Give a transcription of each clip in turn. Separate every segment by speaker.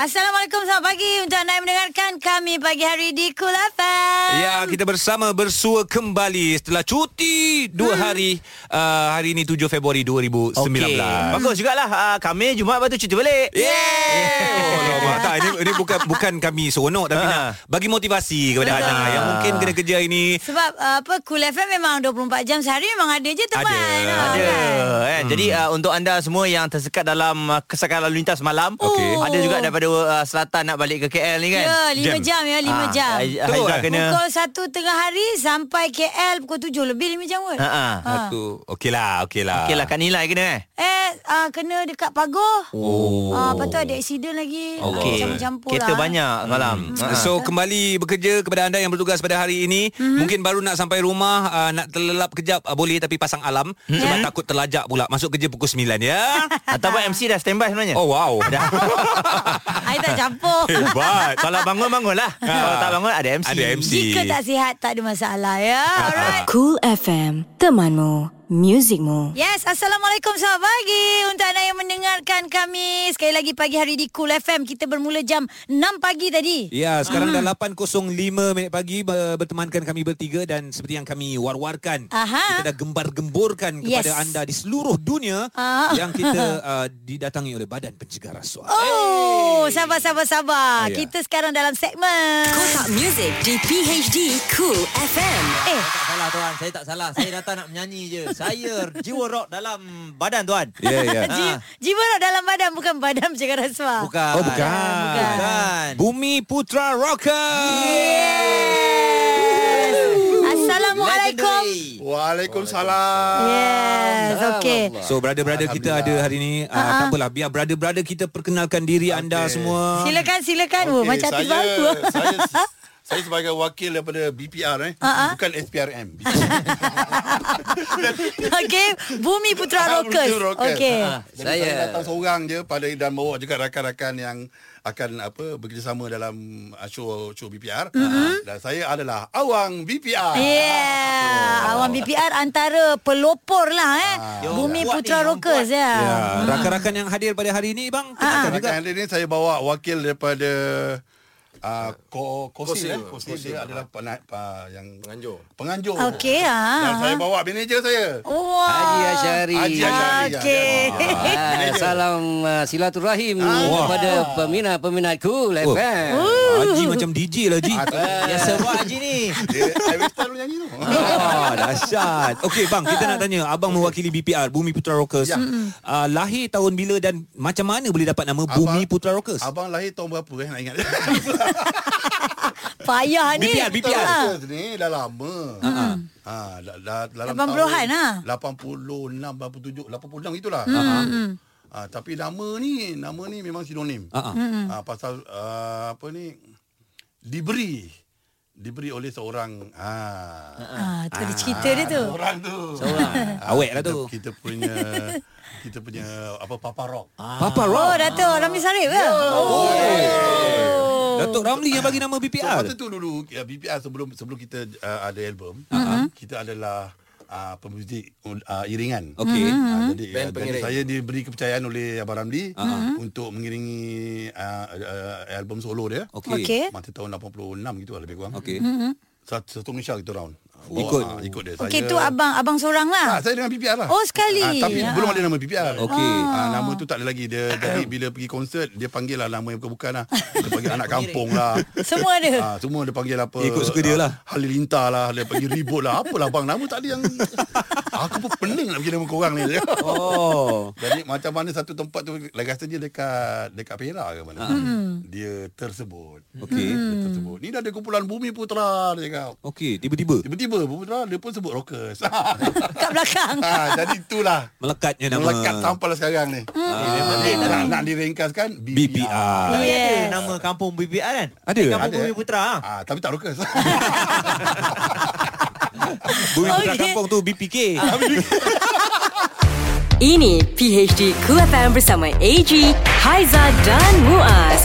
Speaker 1: Assalamualaikum, selamat pagi untuk anda yang mendengarkan kami pagi hari di Cool FM.
Speaker 2: Ya, kita bersama bersua kembali setelah cuti
Speaker 3: Hmm.
Speaker 2: dua hari. Uh, hari ini 7 Februari 2019.
Speaker 3: Okey. Bagus jugalah. Uh, kami Jumaat lepas tu cuti balik.
Speaker 2: Yeay! Oh, lama. tak, ini, ini bukan bukan kami seronok tapi
Speaker 3: Ha.
Speaker 2: nak bagi motivasi kepada
Speaker 3: Betul.
Speaker 2: anak yang mungkin kena kerja hari ni.
Speaker 1: Sebab uh, apa Cool FM memang 24 jam sehari memang ada je teman.
Speaker 2: Ada,
Speaker 1: Ah,
Speaker 3: Ada.
Speaker 1: kan?
Speaker 3: Kan? Jadi
Speaker 2: Hmm.
Speaker 3: uh, untuk anda semua yang tersekat dalam uh, kesekan lalu lintas malam,
Speaker 2: Okey. Oh.
Speaker 3: ada juga daripada uh, selatan nak balik ke KL ni kan.
Speaker 1: Ya, 5 jam,
Speaker 2: Jam.
Speaker 1: ya, 5
Speaker 3: Ah,
Speaker 1: jam.
Speaker 3: Hai-
Speaker 2: Betul,
Speaker 3: Haizah
Speaker 2: eh?
Speaker 3: kena
Speaker 1: Pukul 1 tengah hari sampai KL pukul 7 lebih 5 jam kot.
Speaker 3: Ha ah.
Speaker 1: Ha.
Speaker 2: Satu. Okeylah, okeylah.
Speaker 3: Okeylah kat nilai kena eh.
Speaker 1: Eh, uh, kena dekat pagoh.
Speaker 2: Oh.
Speaker 1: Ah, lepas tu ada aksiden lagi.
Speaker 2: Allah. Hmm.
Speaker 1: Ah, Campur-campur
Speaker 3: Kereta
Speaker 1: lah.
Speaker 3: banyak malam. Ha, ha. Hmm.
Speaker 2: So kembali bekerja kepada anda yang bertugas pada hari ini mm-hmm. Mungkin baru nak sampai rumah uh, Nak terlelap kejap uh, Boleh tapi pasang alam
Speaker 3: Hmm.
Speaker 2: mm-hmm. Sebab
Speaker 1: Ya.
Speaker 2: takut terlajak pula Masuk kerja pukul 9 ya
Speaker 3: ataupun MC dah standby sebenarnya.
Speaker 2: Oh wow
Speaker 1: Saya tak campur.
Speaker 2: Hebat
Speaker 3: Kalau bangun bangunlah. Kalau tak bangun ada MC.
Speaker 2: Ha. Ada MC
Speaker 1: Jika tak sihat, tak ada masalah ya. Alright.
Speaker 4: Cool FM, temanmu, muzikmu.
Speaker 1: Yes, Assalamualaikum selamat pagi Untuk anda yang mendengarkan kami Sekali lagi pagi hari di Cool FM Kita bermula jam 6 pagi tadi
Speaker 2: Ya, sekarang dah 8.05 minit pagi ber- bertemankan kami bertiga dan seperti yang kami war-warkan,
Speaker 1: Aha.
Speaker 2: kita dah gembar-gemborkan kepada
Speaker 1: Yes.
Speaker 2: anda di seluruh dunia
Speaker 1: Ah.
Speaker 2: yang kita uh, didatangi oleh Badan Pencegah Rasuah.
Speaker 1: Oh, sabar, sabar, sabar
Speaker 2: Ah, ya.
Speaker 1: Kita sekarang dalam segmen
Speaker 4: Kotak muzik di PHD Cool FM.
Speaker 1: Eh,
Speaker 3: Tak salah Ah, tuan, saya tak salah. Saya datang nak menyanyi je. Saya jiwa rock dalam badan tuan. Ah,
Speaker 2: Ya, ya.
Speaker 1: ji- jiwa rock dalam badan Bukan badan bercakap rasuah
Speaker 3: Bukan.
Speaker 2: Oh, bukan.
Speaker 3: Bukan.
Speaker 2: Bumi Putra Rocker.
Speaker 1: Yes. Assalamualaikum
Speaker 5: Waalaikumsalam.
Speaker 1: Yes, okay
Speaker 2: So brother-brother kita ada hari ini uh, tak apalah biar brother-brother kita perkenalkan diri anda semua.
Speaker 1: Silakan, silakan okay, oh, Macam artis
Speaker 5: saya,
Speaker 1: baru
Speaker 5: saya, saya sebagai wakil daripada BPR eh. Bukan SPRM.
Speaker 1: Okay, Bumi Putra Rockers
Speaker 5: Bumi Rockers. Ah.
Speaker 1: Okay
Speaker 5: Jadi saya, saya datang seorang je pada dan bawa juga rakan-rakan yang akan apa bekerjasama dalam uh, show show BPR. Dan saya adalah awang BPR.
Speaker 1: Ya. Yeah. Awam BPR antara pelopor lah eh.
Speaker 3: Yang
Speaker 1: Bumi
Speaker 3: buat
Speaker 1: Putra
Speaker 3: ni, yang
Speaker 1: Rockers ya.
Speaker 2: Ya, rakan-rakan yang hadir pada hari ini bang.
Speaker 5: Dan
Speaker 1: Ah.
Speaker 2: kenalkan juga.
Speaker 5: Rakan Kan, hari ni saya bawa wakil daripada uh, Ko, Kosil, eh. Kosil, dia adalah pena, uh, yang penganjur. Penganjur.
Speaker 1: Okey
Speaker 5: Dan
Speaker 1: ah.
Speaker 5: saya bawa manager saya.
Speaker 1: Wah.
Speaker 6: Haji Asyari.
Speaker 5: Haji Asyari.
Speaker 1: Okey.
Speaker 6: Ah, salam uh, silaturahim
Speaker 5: Wah.
Speaker 6: kepada peminat-peminat cool
Speaker 2: Oh.
Speaker 6: FM.
Speaker 2: Haji macam DJ lah Haji.
Speaker 3: Biasa buat haji ni.
Speaker 5: Ah, Dia Harry Styles pun nyanyi tu.
Speaker 2: Oh, dahsyat. Okey bang, kita nak tanya abang mewakili BPR Bumi Putra Rockers.
Speaker 5: Ya.
Speaker 2: Uh, lahir tahun bila dan macam mana boleh dapat nama Bumi Putra Rockers?
Speaker 5: Abang lahir tahun berapa eh nak ingat.
Speaker 1: Payah ni.
Speaker 2: BPR, BPR.
Speaker 5: Betul ni dah lama.
Speaker 2: Ah.
Speaker 5: Ha dah, dah, dalam
Speaker 1: 80-an,
Speaker 5: tahun
Speaker 1: ha?
Speaker 5: 86 87 86 itulah.
Speaker 2: Hmm,
Speaker 5: Ha. Ha, tapi nama ni nama ni memang sinonim.
Speaker 2: Ha, ha.
Speaker 5: Ha, pasal uh, apa ni diberi diberi oleh seorang ha.
Speaker 1: Ah, tu ada cerita dia tu.
Speaker 5: Orang tu. Ah,
Speaker 2: Seorang. Awet lah tu.
Speaker 5: Kita, kita punya kita punya apa Papa Rock.
Speaker 2: Papa Rock.
Speaker 1: Oh, Dato' Ramli Sarip ke? Oh.
Speaker 2: Datuk Ramli yang bagi nama
Speaker 5: So,
Speaker 2: BPR.
Speaker 5: masa tu dulu ya, BPR sebelum sebelum kita uh, ada album, uh-huh. kita adalah uh, pemuzik uh, iringan.
Speaker 2: Okey.
Speaker 5: Uh, jadi, uh, jadi saya diberi kepercayaan oleh Abang Ramli uh-huh. untuk mengiringi uh, uh, album solo dia.
Speaker 2: Okey.
Speaker 1: Okey.
Speaker 5: Masa tahun 86 gitu lah lebih kurang.
Speaker 2: Okey.
Speaker 5: Satu, satu Malaysia kita round.
Speaker 2: Oh. Ikut.
Speaker 5: ah, ikut dia.
Speaker 1: Okey,
Speaker 5: saya,
Speaker 1: tu abang abang seorang
Speaker 5: Ah,
Speaker 1: lah.
Speaker 5: saya dengan BPR lah.
Speaker 1: Oh, sekali.
Speaker 5: Ah, tapi
Speaker 1: Ah.
Speaker 5: belum ada nama BPR.
Speaker 2: Okey.
Speaker 5: Ah, nama tu tak ada lagi. Dia jadi bila pergi konsert dia panggil lah nama yang bukan-bukan lah. Dia panggil anak kampung lah.
Speaker 1: Semua ada.
Speaker 5: Ah, semua dia panggil apa
Speaker 2: Ikut suka dia lah.
Speaker 5: ah, Halilintar lah Dia panggil ribut lah Apalah bang Nama tak ada yang Aku pun pening nak pergi nama korang ni
Speaker 2: Oh.
Speaker 5: Jadi macam mana satu tempat tu Lagi rasa dia dekat Dekat Perak ke mana Dia tersebut
Speaker 2: Ah. Hmm. Okey.
Speaker 5: Dia tersebut Ni dah ada kumpulan Bumi Putera Dia cakap
Speaker 2: Okey, tiba-tiba
Speaker 5: Tiba-tiba Bumi Putera Dia pun sebut rockers
Speaker 1: Kat belakang.
Speaker 5: ah, Jadi itulah
Speaker 2: melekatnya nama Hmm. Ah.
Speaker 5: Melekat sampai lah sekarang ni Jadi, nak, nak diringkaskan BPR,
Speaker 2: BPR.
Speaker 1: Yes.
Speaker 3: Nama kampung BPR kan?
Speaker 2: Ada?
Speaker 5: Ya.
Speaker 3: Kampung
Speaker 5: Ada.
Speaker 3: Bumi Putra. ah.
Speaker 5: Ah, tapi tak rockers
Speaker 2: Bumi Putra
Speaker 1: Okey.
Speaker 2: Kampung tu BPK.
Speaker 4: Ini PHD Cool FM bersama AG, Haiza dan Muaz.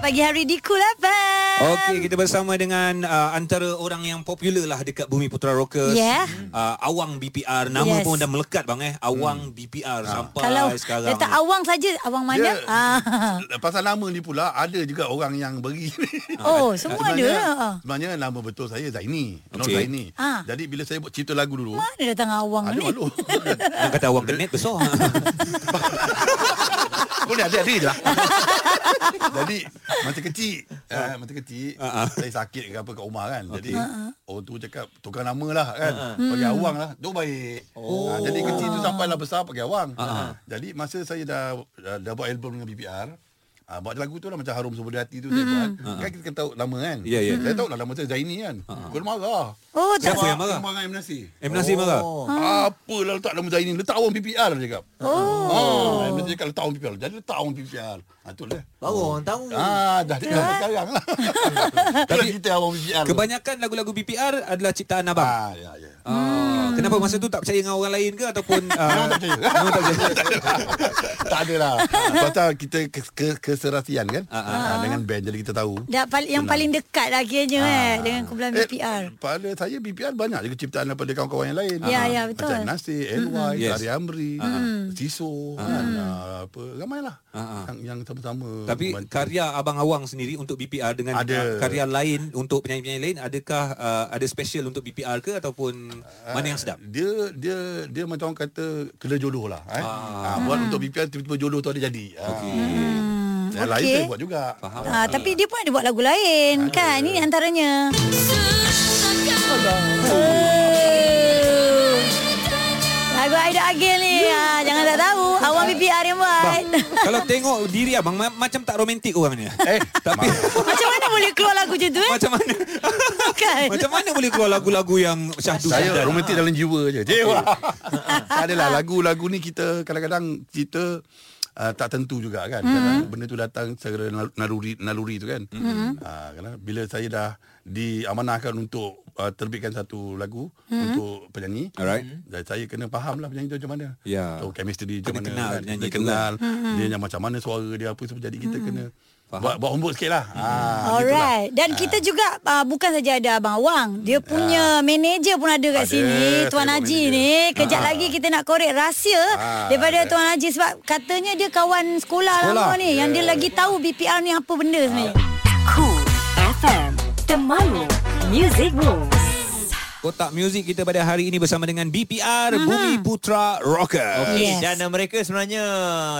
Speaker 1: Pagi hari di Cool FM.
Speaker 2: Okey, kita bersama dengan uh, antara orang yang popular lah dekat Bumi Putera Rockers.
Speaker 1: Yeah.
Speaker 2: Uh, Awang BPR. Nama
Speaker 1: Yes.
Speaker 2: pun dah melekat bang eh.
Speaker 5: Hmm.
Speaker 2: Awang
Speaker 5: Ah.
Speaker 2: BPR sampai
Speaker 1: Kalau
Speaker 2: sekarang.
Speaker 1: letak awang saja, awang mana?
Speaker 5: Ya.
Speaker 1: Ah.
Speaker 5: Pasal nama ni pula ada juga orang yang beri.
Speaker 1: Oh, semua ada. lah.
Speaker 5: Sebenarnya nama betul saya Zaini. Nur
Speaker 2: Okey.
Speaker 5: Zaini.
Speaker 1: Ah.
Speaker 5: Jadi bila saya buat cipta lagu dulu,
Speaker 1: Mana datang awang
Speaker 5: ada
Speaker 1: ni?
Speaker 5: malu.
Speaker 2: Orang kata awang kenet besar.
Speaker 1: Oh.
Speaker 2: Eh,
Speaker 5: Kau ni adik-adik je lah. Jadi masa kecil,
Speaker 2: Ha.
Speaker 5: uh, masa kecil
Speaker 2: Ah, ah.
Speaker 5: saya sakit ke apa kat rumah kan. Jadi
Speaker 2: Ha,
Speaker 5: orang tu cakap tukar nama lah kan. Pakai
Speaker 2: Hmm.
Speaker 5: awang lah. Dia baik. Oh. jadi kecil
Speaker 2: Ah.
Speaker 5: tu sampailah besar pakai awang.
Speaker 2: Ha,
Speaker 5: Ha. Jadi masa saya dah dah, dah buat album dengan BPR, Ah, buat lagu tu lah macam harum sebuah hati tu saya buat. Kan kita kena tahu nama kan.
Speaker 2: Hmm. Ha, Ya, Ha, ya.
Speaker 5: Saya tahu lah nama saya Zaini kan. Kau dia marah.
Speaker 1: Oh, tak.
Speaker 2: Siapa yang marah?
Speaker 5: Kau marah Imnasi.
Speaker 2: M. Nasir marah?
Speaker 5: Apalah letak nama Zaini Letak awam PPR dia cakap Ha. Oh ha, Dia cakap letak awam PPR Jadi letak awam PPR ha, Itulah
Speaker 3: Baru orang tahu.
Speaker 5: Ah, dah dia dah sekarang lah Tapi kita awam PPR tu.
Speaker 2: Kebanyakan lagu-lagu BPR adalah ciptaan abang.
Speaker 5: Ah, ya, ya.
Speaker 2: Ah,
Speaker 1: Hmm.
Speaker 2: Kenapa masa tu tak percaya dengan orang lain ke ataupun ah,
Speaker 5: Memang tak percaya.
Speaker 2: memang tak percaya.
Speaker 5: tak ada lah Pasal kita ke, ke, keserasian kan ah, Dengan band Jadi kita tahu
Speaker 1: Dah pal- yang paling dekat lah kiranya eh dengan kumpulan BPR.
Speaker 5: Pada saya BPR banyak juga ciptaan daripada kawan-kawan yang lain. Ha.
Speaker 1: Ya, ya, betul.
Speaker 5: Macam Nasir, NY,
Speaker 2: Yes.
Speaker 5: yes. Tari Amri, Siso, kan, ah, apa ramailah
Speaker 2: Ah, ah.
Speaker 5: yang, yang sama-sama.
Speaker 2: Tapi
Speaker 5: membantu.
Speaker 2: karya Abang Awang sendiri untuk BPR dengan
Speaker 5: Ada.
Speaker 2: ah, karya lain untuk penyanyi-penyanyi lain adakah ah, ada special untuk BPR ke ataupun
Speaker 5: Ah.
Speaker 2: mana yang sedap?
Speaker 5: dia dia dia macam orang kata kena jodoh lah eh. Ah. buat untuk BPR tiba-tiba jodoh tu ada jadi. Okay.
Speaker 1: Hmm,
Speaker 5: Yang lain
Speaker 1: okey.
Speaker 5: saya buat juga.
Speaker 2: Faham.
Speaker 1: Ah, tapi dia pun ada buat lagu lain kan. Ini antaranya. Oh. Lagu Aida Agil ni. Ah, jangan tak tahu. Awang BPR yang buat.
Speaker 2: Bang, kalau tengok diri abang ma- macam tak romantik orangnya.
Speaker 5: Eh,
Speaker 2: Tapi
Speaker 1: Macam mana boleh keluar lagu macam tu eh?
Speaker 2: macam mana
Speaker 1: Kan?
Speaker 2: macam mana boleh keluar lagu-lagu yang syahdu
Speaker 5: Saya
Speaker 2: syahdan?
Speaker 5: romantik dalam jiwa je. Jiwa. tak adalah lagu-lagu ni kita kadang-kadang kita Uh, tak tentu juga kan kadang benda tu datang secara nal- naluri naluri tu kan mm-hmm. uh, kadang bila saya dah diamanahkan untuk uh, terbitkan satu lagu mm-hmm. untuk penyanyi
Speaker 2: Alright.
Speaker 5: Hmm? dan saya kena faham lah penyanyi tu macam mana
Speaker 2: Ya.
Speaker 5: tahu chemistry dia macam
Speaker 2: Kena
Speaker 5: mana
Speaker 2: kenal
Speaker 5: kan.
Speaker 2: penyanyi
Speaker 5: kena
Speaker 2: tu kan.
Speaker 5: kenal dia yang macam mana suara dia apa semua jadi kita kena
Speaker 2: Faham.
Speaker 5: buat buat homework sikit lah ah, gitulah.
Speaker 1: Alright. Dan kita juga uh, bukan saja ada Abang Awang. Dia punya manager pun ada
Speaker 5: Ada,
Speaker 1: kat sini.
Speaker 5: saya
Speaker 1: Tuan
Speaker 5: buat
Speaker 1: Haji
Speaker 5: manager.
Speaker 1: ni. Kejap lagi kita nak korek rahsia
Speaker 5: Ah,
Speaker 1: daripada
Speaker 5: ada.
Speaker 1: Tuan Haji. Sebab katanya dia kawan sekolah,
Speaker 2: Sekolah.
Speaker 1: lama ni. Yang dia lagi tahu BPR ni apa
Speaker 5: Ah.
Speaker 1: benda sebenarnya.
Speaker 4: Cool FM Temanmu Music Rules
Speaker 2: Kotak muzik kita pada hari ini bersama dengan BPR Bumi Putra Rocker.
Speaker 3: Okay,
Speaker 1: Yes.
Speaker 3: Dan uh, mereka sebenarnya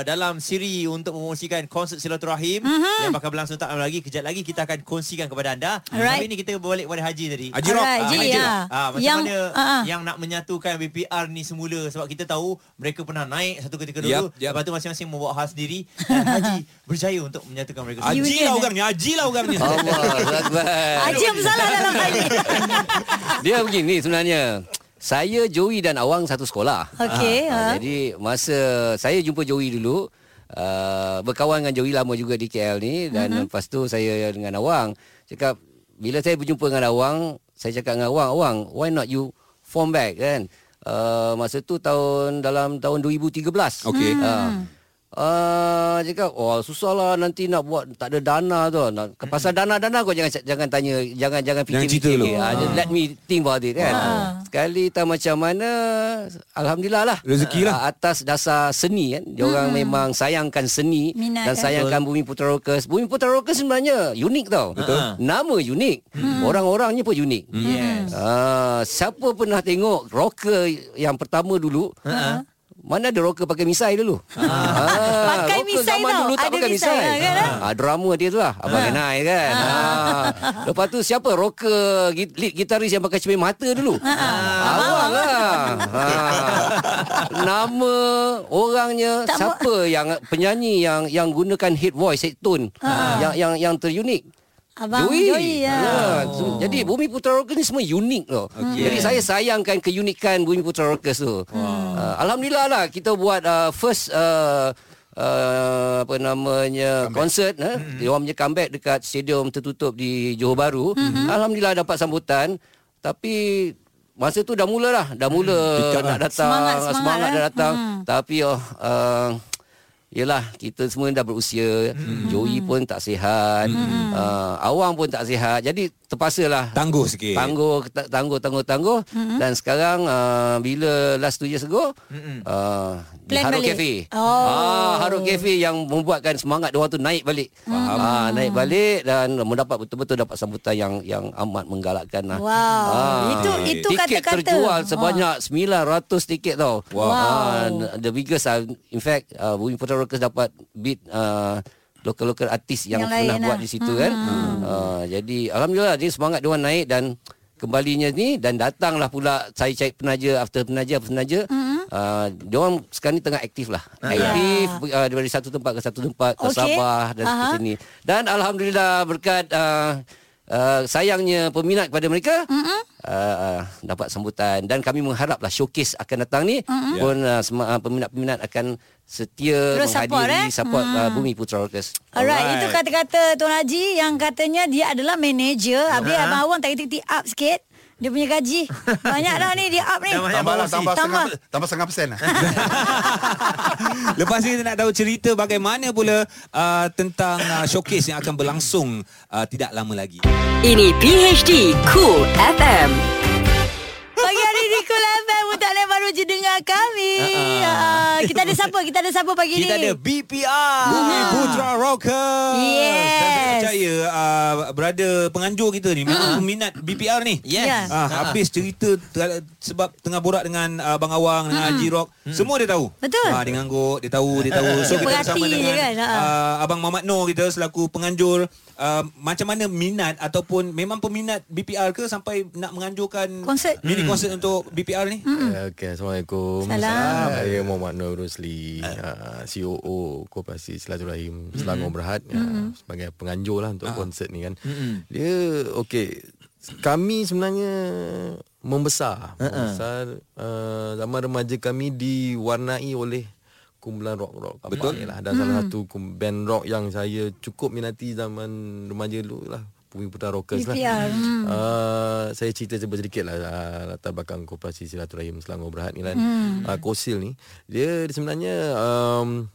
Speaker 3: dalam siri untuk mempromosikan konsert silaturahim mm-hmm.
Speaker 1: Mhm.
Speaker 3: yang bakal berlangsung tak lama lagi. Kejap lagi kita akan kongsikan kepada anda.
Speaker 1: Alright.
Speaker 3: Tapi ini kita balik pada Haji tadi.
Speaker 2: Haji Rock.
Speaker 1: Alright,
Speaker 3: Ah,
Speaker 1: Haji,
Speaker 3: Haji
Speaker 1: ya.
Speaker 3: Rock. Ah, macam yang,
Speaker 1: Yang-
Speaker 3: mana
Speaker 1: ah, ah.
Speaker 3: yang nak menyatukan BPR ni semula sebab kita tahu mereka pernah naik satu ketika dulu.
Speaker 2: Yap, yap.
Speaker 3: Lepas tu masing-masing membawa hal sendiri dan Haji
Speaker 1: Ah.
Speaker 3: berjaya untuk menyatukan mereka. semua.
Speaker 2: Haji lah orangnya, Haji lah orangnya.
Speaker 6: Allah Akbar.
Speaker 1: Haji Ah, yang bersalah dalam hal ni.
Speaker 6: Dia begini sebenarnya. Saya Joey dan Awang satu sekolah.
Speaker 1: Okey,
Speaker 6: Ah,
Speaker 1: ha.
Speaker 6: Jadi masa saya jumpa Joey dulu Uh, berkawan dengan Joey lama juga di KL ni dan uh-huh.
Speaker 1: Mhm.
Speaker 6: lepas tu saya dengan Awang cakap bila saya berjumpa dengan Awang saya cakap dengan Awang Awang why not you form back kan uh, masa tu tahun dalam tahun 2013
Speaker 2: Okey.
Speaker 1: Hmm.
Speaker 6: Ah. Ah, cakap oh susah lah nanti nak buat tak ada dana tu. Nak, ke pasal
Speaker 1: Hmm.
Speaker 6: dana-dana kau jangan jangan tanya, jangan jangan
Speaker 2: Jangan cerita
Speaker 6: fikir-fikir.
Speaker 2: dulu.
Speaker 6: Ah, just let me think about it kan.
Speaker 1: Ah.
Speaker 6: Sekali tak macam mana alhamdulillah lah.
Speaker 2: Rezeki lah.
Speaker 6: Ah, atas dasar seni kan. Dia orang memang sayangkan seni
Speaker 1: Hmm.
Speaker 6: dan
Speaker 1: Minat, kan?
Speaker 6: sayangkan Bumi Putera Rockers. Bumi Putera Rockers sebenarnya unik tau. Ah.
Speaker 3: Betul.
Speaker 6: Nama unik.
Speaker 1: Hmm.
Speaker 6: Orang-orangnya pun unik.
Speaker 3: Yes.
Speaker 6: Ah, siapa pernah tengok rocker yang pertama dulu? Ha. Mana ada rocker pakai misai dulu? Ah,
Speaker 1: Pakai
Speaker 6: rocker
Speaker 1: misai
Speaker 6: zaman
Speaker 1: tau.
Speaker 6: dulu tak
Speaker 1: Ada
Speaker 6: pakai
Speaker 1: misai,
Speaker 6: misai.
Speaker 1: ah, kan, ah?
Speaker 6: Ah, drama dia tu lah. Abang Enai kan. Ah. Lepas tu siapa rocker git- lead gitaris yang pakai cermin mata dulu? Abang lah. Ah. Nama orangnya
Speaker 1: Tak
Speaker 6: siapa yang penyanyi yang yang gunakan head voice, head tone yang yang yang terunik?
Speaker 1: Abang Joey.
Speaker 5: Ah.
Speaker 1: ya.
Speaker 6: Ya. Oh. Jadi Bumi Putera Rockers ni semua unik tau. Okay. Jadi saya sayangkan keunikan Bumi Putera Rockers tu. Uh, Alhamdulillah lah kita buat uh, first uh, Uh, apa namanya konsert eh mm-hmm. dia orang punya comeback dekat stadium tertutup di Johor Bahru mm-hmm. alhamdulillah dapat sambutan tapi masa tu dah mula lah dah mula
Speaker 2: Pick up
Speaker 6: nak
Speaker 2: lah.
Speaker 6: datang ah,
Speaker 1: Semangat, eh.
Speaker 6: semangat,
Speaker 1: semangat,
Speaker 6: semangat
Speaker 1: eh.
Speaker 6: dah datang mm. tapi oh, uh, Yelah kita semua dah berusia hmm. Joey pun tak sihat hmm. uh, Awang pun tak sihat Jadi terpaksalah
Speaker 2: Tangguh sikit.
Speaker 6: Tangguh ta- Tangguh Tangguh Tangguh mm-hmm. Dan sekarang uh, Bila last 2 years ago mm-hmm. uh, di
Speaker 1: Plan
Speaker 6: Haruk
Speaker 1: balik.
Speaker 6: Cafe
Speaker 1: Oh.
Speaker 6: ah, Haruk Cafe yang membuatkan Semangat orang tu naik balik Faham.
Speaker 1: Mm-hmm.
Speaker 6: Ah, Naik balik Dan mendapat betul-betul Dapat sambutan yang yang amat menggalakkan lah.
Speaker 1: Wow. Itu itu
Speaker 6: tiket
Speaker 1: kata-kata.
Speaker 6: terjual
Speaker 1: Ha.
Speaker 6: sebanyak 900 tiket tau.
Speaker 1: Wow.
Speaker 6: Ah, the biggest ah, in fact uh, Bumi Putra Rockers dapat beat uh, lokal-lokal artis yang,
Speaker 1: Yang
Speaker 6: yang
Speaker 1: lain
Speaker 6: pernah
Speaker 1: lah.
Speaker 6: buat di situ kan. Hmm. Uh, jadi alhamdulillah ni semangat dia naik dan kembalinya ni dan datanglah pula saya cari penaja after penaja after penaja. Hmm. Uh, diorang sekarang ni tengah aktif lah Aktif uh, Dari satu tempat ke satu tempat Ke
Speaker 1: Okey.
Speaker 6: Sabah Dan
Speaker 1: Aha.
Speaker 6: seperti ni Dan Alhamdulillah Berkat uh, uh, Sayangnya Peminat kepada mereka
Speaker 1: Hmm.
Speaker 6: uh, uh, Dapat sambutan Dan kami mengharaplah Showcase akan datang ni Pun uh, sema- uh, peminat-peminat akan Setia
Speaker 1: Hmm. Terus support,
Speaker 6: Menghadiri
Speaker 1: eh?
Speaker 6: Support uh, Bumi Putra Orkes
Speaker 1: Alright,
Speaker 3: Alright.
Speaker 1: itu kata-kata Tuan Haji yang katanya dia adalah manager.
Speaker 5: Ya.
Speaker 1: Habis
Speaker 3: Ha.
Speaker 1: Abang Awang tak titik up sikit. Dia punya gaji. Banyak dah ni dia up ni.
Speaker 3: Dah banyak
Speaker 5: Tambahlah lah. tambah,
Speaker 1: Tambah.
Speaker 5: tambah. tambah setengah persen lah.
Speaker 2: Lepas ni kita nak tahu cerita bagaimana pula uh, tentang uh, showcase yang akan berlangsung uh, tidak lama lagi.
Speaker 4: Ini PHD Cool FM.
Speaker 1: Pagi hari di Cool FM Untuk yang baru je dengar kami uh, Kita ada siapa? Kita ada siapa pagi
Speaker 3: Kita
Speaker 1: ni?
Speaker 3: ada BPR
Speaker 2: Bumi Putra Rockers. Dan saya
Speaker 1: Yes.
Speaker 2: percaya uh, brother penganjur kita ni memang
Speaker 1: Ha.
Speaker 2: peminat BPR ni.
Speaker 3: Yes
Speaker 1: Ya.
Speaker 2: Ah, habis cerita ter- sebab tengah borak dengan uh, Bang Awang dengan Haji Rock. Semua dia tahu.
Speaker 1: Ha. Hmm. Betul.
Speaker 2: Ah, dia ngangguk, dia tahu, dia tahu. So
Speaker 1: Dia
Speaker 2: kita
Speaker 1: perhati
Speaker 2: bersama
Speaker 1: je
Speaker 2: dengan
Speaker 1: kan, ha.
Speaker 2: uh, abang Mamat Noor kita selaku penganjur uh, macam mana minat ataupun memang peminat BPR ke sampai nak menganjurkan
Speaker 1: Konsert. Hmm.
Speaker 2: mini konsert untuk BPR ni?
Speaker 7: Eh, Okay, Assalamualaikum
Speaker 1: Salam.
Speaker 7: Saya Muhammad Noor Rusli uh, COO Koperasi Silaturahim Selangor Berhad uh, Sebagai penganjur lah untuk konsert ni kan Dia, okay Kami sebenarnya membesar Membesar uh, Zaman remaja kami diwarnai oleh kumpulan rock-rock Betul lah, Dan salah satu kum- band rock yang saya cukup minati zaman remaja dulu lah Bumi Putra Rockers lah
Speaker 1: BPR,
Speaker 7: hmm. uh, Saya cerita sedikit lah uh, Latar belakang Koperasi Silaturahim Selangor Berhad ni kan hmm. uh, Kosil ni Dia sebenarnya um,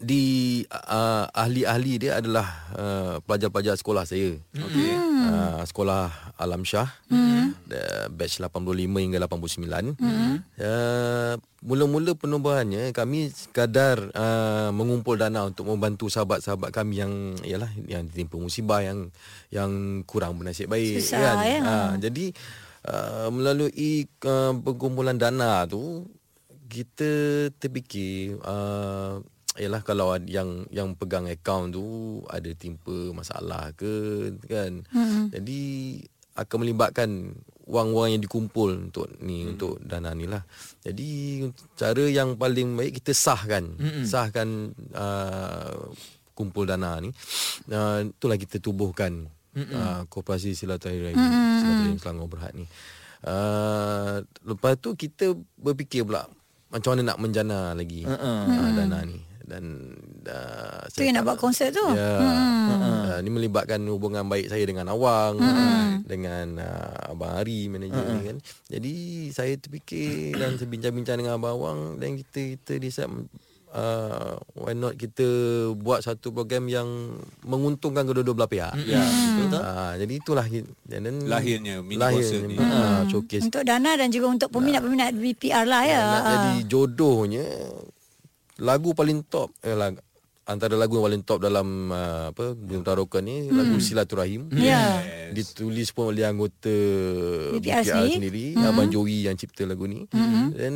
Speaker 7: di uh, ahli-ahli dia adalah uh, pelajar-pelajar sekolah saya. Okey. Uh, sekolah Alam Shah. Hmm. batch 85 hingga 89. Hmm. Uh, mula-mula penubuhannya kami sekadar uh, mengumpul dana untuk membantu sahabat-sahabat kami yang ialah Hmm, yang ditimpa musibah yang yang kurang bernasib baik kan.
Speaker 1: Susah, ya.
Speaker 7: Ah, jadi uh, melalui uh, pengumpulan dana tu kita terfikir uh, ialah kalau ad- yang yang pegang akaun tu ada timpa masalah ke kan. Hmm. Jadi akan melibatkan wang-wang yang dikumpul untuk ni hmm. untuk dana ni lah. Jadi cara yang paling baik kita sahkan. Hmm. Sahkan uh, kumpul dana ni. Uh, itulah kita tubuhkan uh, koperasi silaturahim silaturahim Selangor Berhad ni. Uh, lepas tu kita berfikir pula macam mana nak menjana lagi uh-uh. uh, dana ni dan uh,
Speaker 1: Tu yang nak buat konsert tu.
Speaker 7: Ya. Hmm. Uh, ni melibatkan hubungan baik saya dengan Awang, hmm. dengan uh, abang Ari manager hmm. ni kan. Jadi saya terfikir dan saya bincang-bincang dengan abang Awang dan kita kita decide uh, why not kita buat satu program yang menguntungkan kedua-dua belah pihak.
Speaker 3: Ya betul
Speaker 7: Uh, jadi itulah ki- dan then-
Speaker 2: Lahirnya mini konsert ni.
Speaker 7: uh, showcase
Speaker 1: Untuk Dana dan juga untuk peminat-peminat BPR lah ya.
Speaker 7: Nak jadi jodohnya lagu paling top eh, lag, antara lagu yang paling top dalam uh, apa Bumi Tarokan ni hmm. lagu Silaturahim.
Speaker 1: Ya.
Speaker 7: Ditulis pun oleh anggota BPR,
Speaker 1: BPR sendiri. Hmm.
Speaker 7: sendiri, Abang Joey yang cipta lagu ni. Hmm. Dan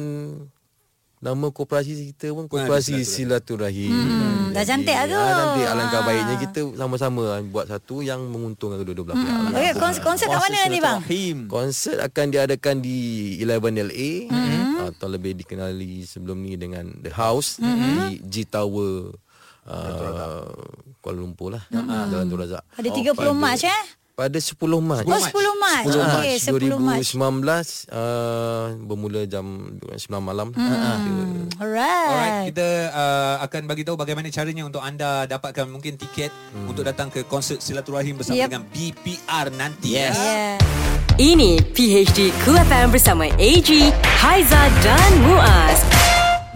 Speaker 7: nama koperasi kita pun koperasi Silaturahim. Hmm.
Speaker 1: dah cantik lah tu.
Speaker 7: Ah, cantik alangkah
Speaker 1: Ah.
Speaker 7: baiknya kita sama-sama buat satu yang menguntungkan kedua-dua belah
Speaker 1: Hmm.
Speaker 7: pihak. lah.
Speaker 1: Okey, kons- konsert kat mana nanti bang?
Speaker 3: Rahim
Speaker 7: Konsert akan diadakan di 11LA mm-hmm. atau lebih dikenali sebelum ni dengan The House mm-hmm. di G Tower uh, Kuala Lumpur lah mm-hmm. Jalan Tun Razak.
Speaker 1: Ada 30 Mac eh?
Speaker 7: Pada 10 Mac.
Speaker 1: Oh 10 Mac.
Speaker 7: 10 Mac
Speaker 1: Okey, 10 Mac.
Speaker 7: 2019 uh, bermula jam 9 malam. Mm-hmm.
Speaker 1: Alright.
Speaker 2: Alright, kita uh, akan bagi tahu bagaimana caranya untuk anda dapatkan mungkin tiket hmm. untuk datang ke konsert silaturahim bersama
Speaker 1: Yep.
Speaker 2: yep. dengan BPR nanti.
Speaker 3: Yes.
Speaker 2: ya.
Speaker 1: Yeah.
Speaker 4: Ini PHD Cool FM bersama AG, Haiza dan Muaz.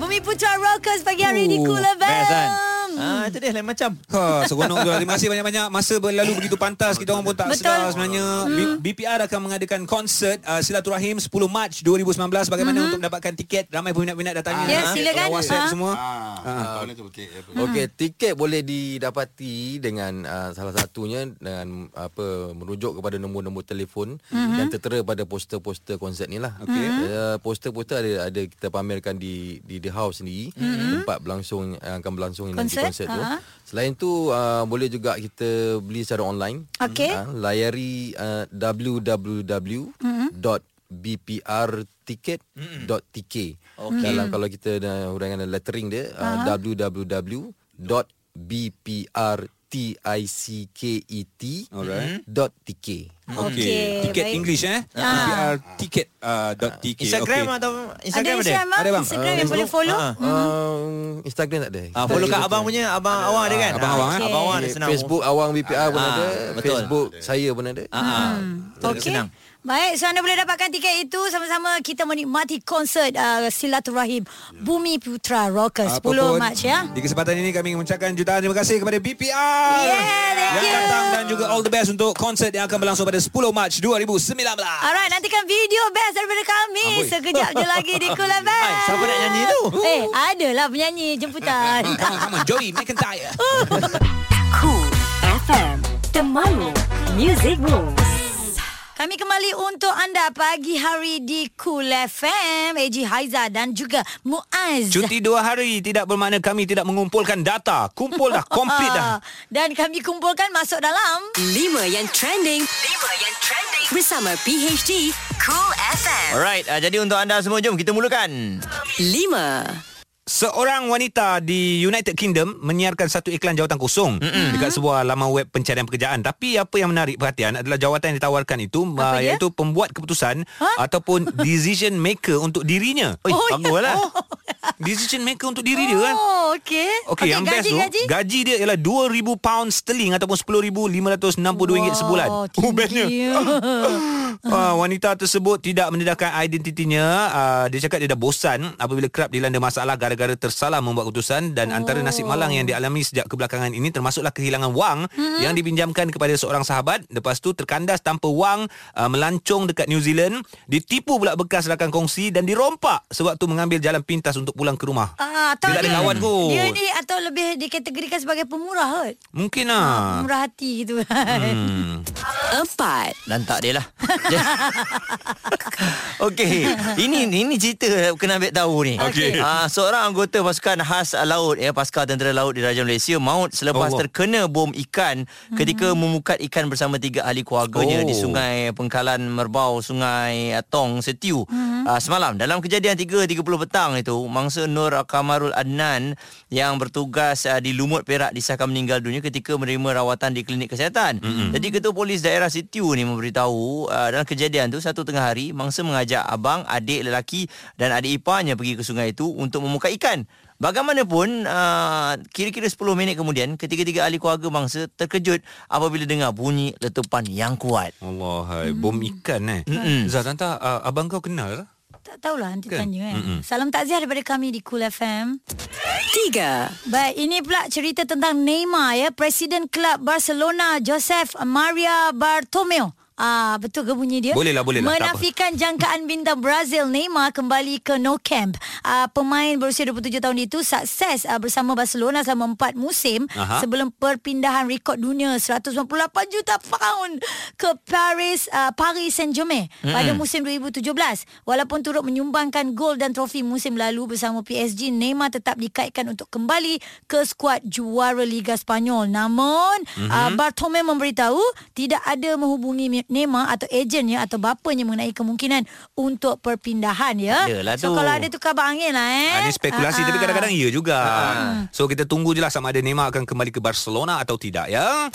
Speaker 1: Bumi Kami Putra Rockers pagi hari di
Speaker 2: Ooh,
Speaker 1: Cool
Speaker 3: Best kan?
Speaker 1: FM.
Speaker 3: Ah, itu dia lain macam.
Speaker 2: Ha, seronok juga. Terima kasih banyak-banyak. Masa berlalu begitu pantas. Kita orang pun tak
Speaker 1: Betul. Hmm.
Speaker 2: sedar sebenarnya. B- BPR akan mengadakan konsert uh, Silaturahim 10 Mac 2019. Bagaimana untuk mendapatkan tiket? Ramai peminat-peminat datangnya.
Speaker 1: Ya,
Speaker 2: Ah,
Speaker 1: silakan.
Speaker 2: orang WhatsApp
Speaker 1: Mhm. Ah.
Speaker 2: semua.
Speaker 5: Ah, kawan tu okey.
Speaker 7: Okey, tiket boleh didapati dengan uh, salah satunya dengan apa merujuk kepada nombor-nombor telefon mm-hmm. yang tertera pada poster-poster konsert ni lah. Okey. Uh, poster-poster ada ada kita pamerkan di di The House sendiri mm-hmm. tempat berlangsung yang akan berlangsung nanti
Speaker 1: Konsert,
Speaker 7: konsert tu.
Speaker 1: ha.
Speaker 7: Selain tu uh, boleh juga kita beli secara online.
Speaker 1: Okey.
Speaker 7: Ah, layari uh, www.bprticket.tk. Okay. Dalam kalau kita dah huraikan dalam lettering dia uh, E www.bprticket.tk.
Speaker 2: Okey.
Speaker 1: Okey,
Speaker 2: Tiket
Speaker 1: baik. Ah.
Speaker 2: English eh. BPR ticket uh, dot TK.
Speaker 3: Instagram
Speaker 2: Okey.
Speaker 3: atau
Speaker 1: Ada
Speaker 3: Instagram ada?
Speaker 1: Instagram, ah?
Speaker 2: Ada, bang.
Speaker 1: Instagram yang
Speaker 3: Facebook?
Speaker 1: boleh follow.
Speaker 3: Ah,
Speaker 7: Um, Instagram tak ada.
Speaker 3: Ah, follow kat abang punya, abang awang ada kan?
Speaker 2: abang
Speaker 3: Ah,
Speaker 2: awang, eh?
Speaker 3: Abang awang ada
Speaker 7: Okay.
Speaker 3: senang.
Speaker 7: Facebook awang BPR pun
Speaker 3: Ah,
Speaker 7: ada,
Speaker 3: betul.
Speaker 7: Facebook saya pun ada.
Speaker 3: Ah, ah. Betul,
Speaker 1: Okey.
Speaker 3: Senang.
Speaker 1: Baik, so anda boleh dapatkan tiket itu sama-sama kita menikmati konsert uh, Silaturahim
Speaker 2: Ya.
Speaker 1: Bumi Putra Rockers 10
Speaker 2: Apapun,
Speaker 1: Mac ya.
Speaker 2: Di kesempatan ini kami mengucapkan jutaan terima kasih kepada BPR
Speaker 1: Yeah,
Speaker 2: yang
Speaker 1: thank you.
Speaker 2: datang dan juga all the best untuk konsert yang akan berlangsung pada 10 Mac 2019.
Speaker 1: Alright, nantikan video best daripada kami sekejap je lagi di Cool FM.
Speaker 3: Hai, siapa nak nyanyi tu?
Speaker 1: Eh, adalah penyanyi jemputan.
Speaker 2: Come on, come on, Joey McIntyre.
Speaker 4: Cool FM Temanmu Music Rules
Speaker 1: Kami kembali untuk anda pagi hari di Cool FM. AG Haiza dan juga Muaz.
Speaker 2: Cuti dua hari tidak bermakna kami tidak mengumpulkan data. Kumpul dah, complete dah.
Speaker 1: Ah, Dan kami kumpulkan masuk dalam
Speaker 4: 5 yang trending 5 yang trending Bersama PHD Cool FM
Speaker 3: Alright, ah, jadi untuk anda semua jom kita mulakan.
Speaker 4: 5
Speaker 2: Seorang wanita di United Kingdom menyiarkan satu iklan jawatan kosong mm-hmm. dekat sebuah laman web pencarian pekerjaan. Tapi apa yang menarik perhatian adalah jawatan yang ditawarkan itu uh,
Speaker 1: dia?
Speaker 2: iaitu pembuat keputusan ataupun decision maker untuk dirinya.
Speaker 3: Oi, oh, baguslah.
Speaker 2: Decision maker untuk diri dia kan.
Speaker 1: ya. Oh,
Speaker 2: Okey,
Speaker 1: okey.
Speaker 2: okay, yang best tu
Speaker 1: gaji, gaji.
Speaker 2: gaji dia ialah 2000 pound sterling ataupun 10562 wow, ringgit sebulan.
Speaker 1: Oh, bestnya.
Speaker 2: Uh, wanita tersebut tidak mendedahkan identitinya. Uh, dia cakap dia dah bosan apabila kerap dilanda masalah gara-gara tersalah membuat keputusan dan oh. antara nasib malang yang dialami sejak kebelakangan ini termasuklah kehilangan wang hmm. yang dipinjamkan kepada seorang sahabat. Lepas tu terkandas tanpa wang, uh, melancong dekat New Zealand, ditipu pula bekas rakan kongsi dan dirompak sewaktu mengambil jalan pintas untuk pulang ke rumah.
Speaker 1: Ah, atau
Speaker 2: Dia tak ada kawan kot.
Speaker 1: Dia ni atau lebih dikategorikan sebagai pemurah kot.
Speaker 2: Mungkin lah.
Speaker 1: Pemurah hati gitu. Hmm.
Speaker 4: 4
Speaker 3: Lantak dia lah Okey Ini ini cerita Kena ambil tahu ni
Speaker 2: Okey.
Speaker 3: Ah, Seorang anggota pasukan khas laut ya, Pasukan tentera laut di Raja Malaysia Maut
Speaker 2: Allah.
Speaker 3: selepas Allah. terkena bom ikan Ketika
Speaker 7: Hmm.
Speaker 3: memukat ikan bersama tiga ahli keluarganya
Speaker 2: Oh.
Speaker 3: Di sungai Pengkalan Merbau Sungai ah, Tong Setiu
Speaker 7: Hmm.
Speaker 3: ah, Semalam Dalam kejadian 3.30 petang itu Mangsa Nur Kamarul Adnan Yang bertugas ah, di Lumut Perak Disahkan meninggal dunia ketika menerima rawatan di klinik kesihatan mm-hmm. Jadi Ketua Polis Daerah Sitiu ni memberitahu uh, Dalam kejadian tu Satu tengah hari Mangsa mengajak abang, adik lelaki Dan adik iparnya pergi ke sungai itu Untuk memukai ikan Bagaimanapun uh, Kira-kira 10 minit kemudian Ketiga-tiga ahli keluarga mangsa Terkejut apabila dengar bunyi letupan yang kuat
Speaker 2: Allah, hai. bom ikan eh.
Speaker 3: Mm-mm.
Speaker 2: Zah, Tanta, uh, abang kau kenal?
Speaker 1: Tak tahulah nanti
Speaker 2: Kan?
Speaker 1: tanya kan.
Speaker 2: Mm-mm.
Speaker 1: Salam takziah daripada kami di Cool FM.
Speaker 4: 3
Speaker 1: Baik, ini pula cerita tentang Neymar ya, Presiden Klub Barcelona Joseph Maria Bartomeu. Ah, betul ke bunyi dia?
Speaker 2: Boleh lah, boleh lah, tak apa.
Speaker 1: Menafikan jangkaan bintang Brazil Neymar kembali ke no camp. Ah, pemain berusia 27 tahun itu sukses ah, bersama Barcelona selama 4 musim
Speaker 2: Aha.
Speaker 1: sebelum perpindahan rekod dunia 198 juta pound ke Paris ah, Paris Saint-Germain pada musim 2017. Walaupun turut menyumbangkan gol dan trofi musim lalu bersama PSG, Neymar tetap dikaitkan untuk kembali ke skuad juara Liga Spanyol. Namun, mm-hmm. uh, Bartomeu memberitahu tidak ada menghubungi Mi- Neymar atau ejennya atau bapanya mengenai kemungkinan untuk perpindahan ya.
Speaker 3: Adalah
Speaker 1: so
Speaker 3: tu.
Speaker 1: kalau ada tu kabar angin lah eh.
Speaker 2: Ha, ini spekulasi
Speaker 1: Ah,
Speaker 2: tapi
Speaker 1: ah.
Speaker 2: kadang-kadang ya juga. So kita tunggu je lah sama ada Neymar akan kembali ke Barcelona atau tidak ya.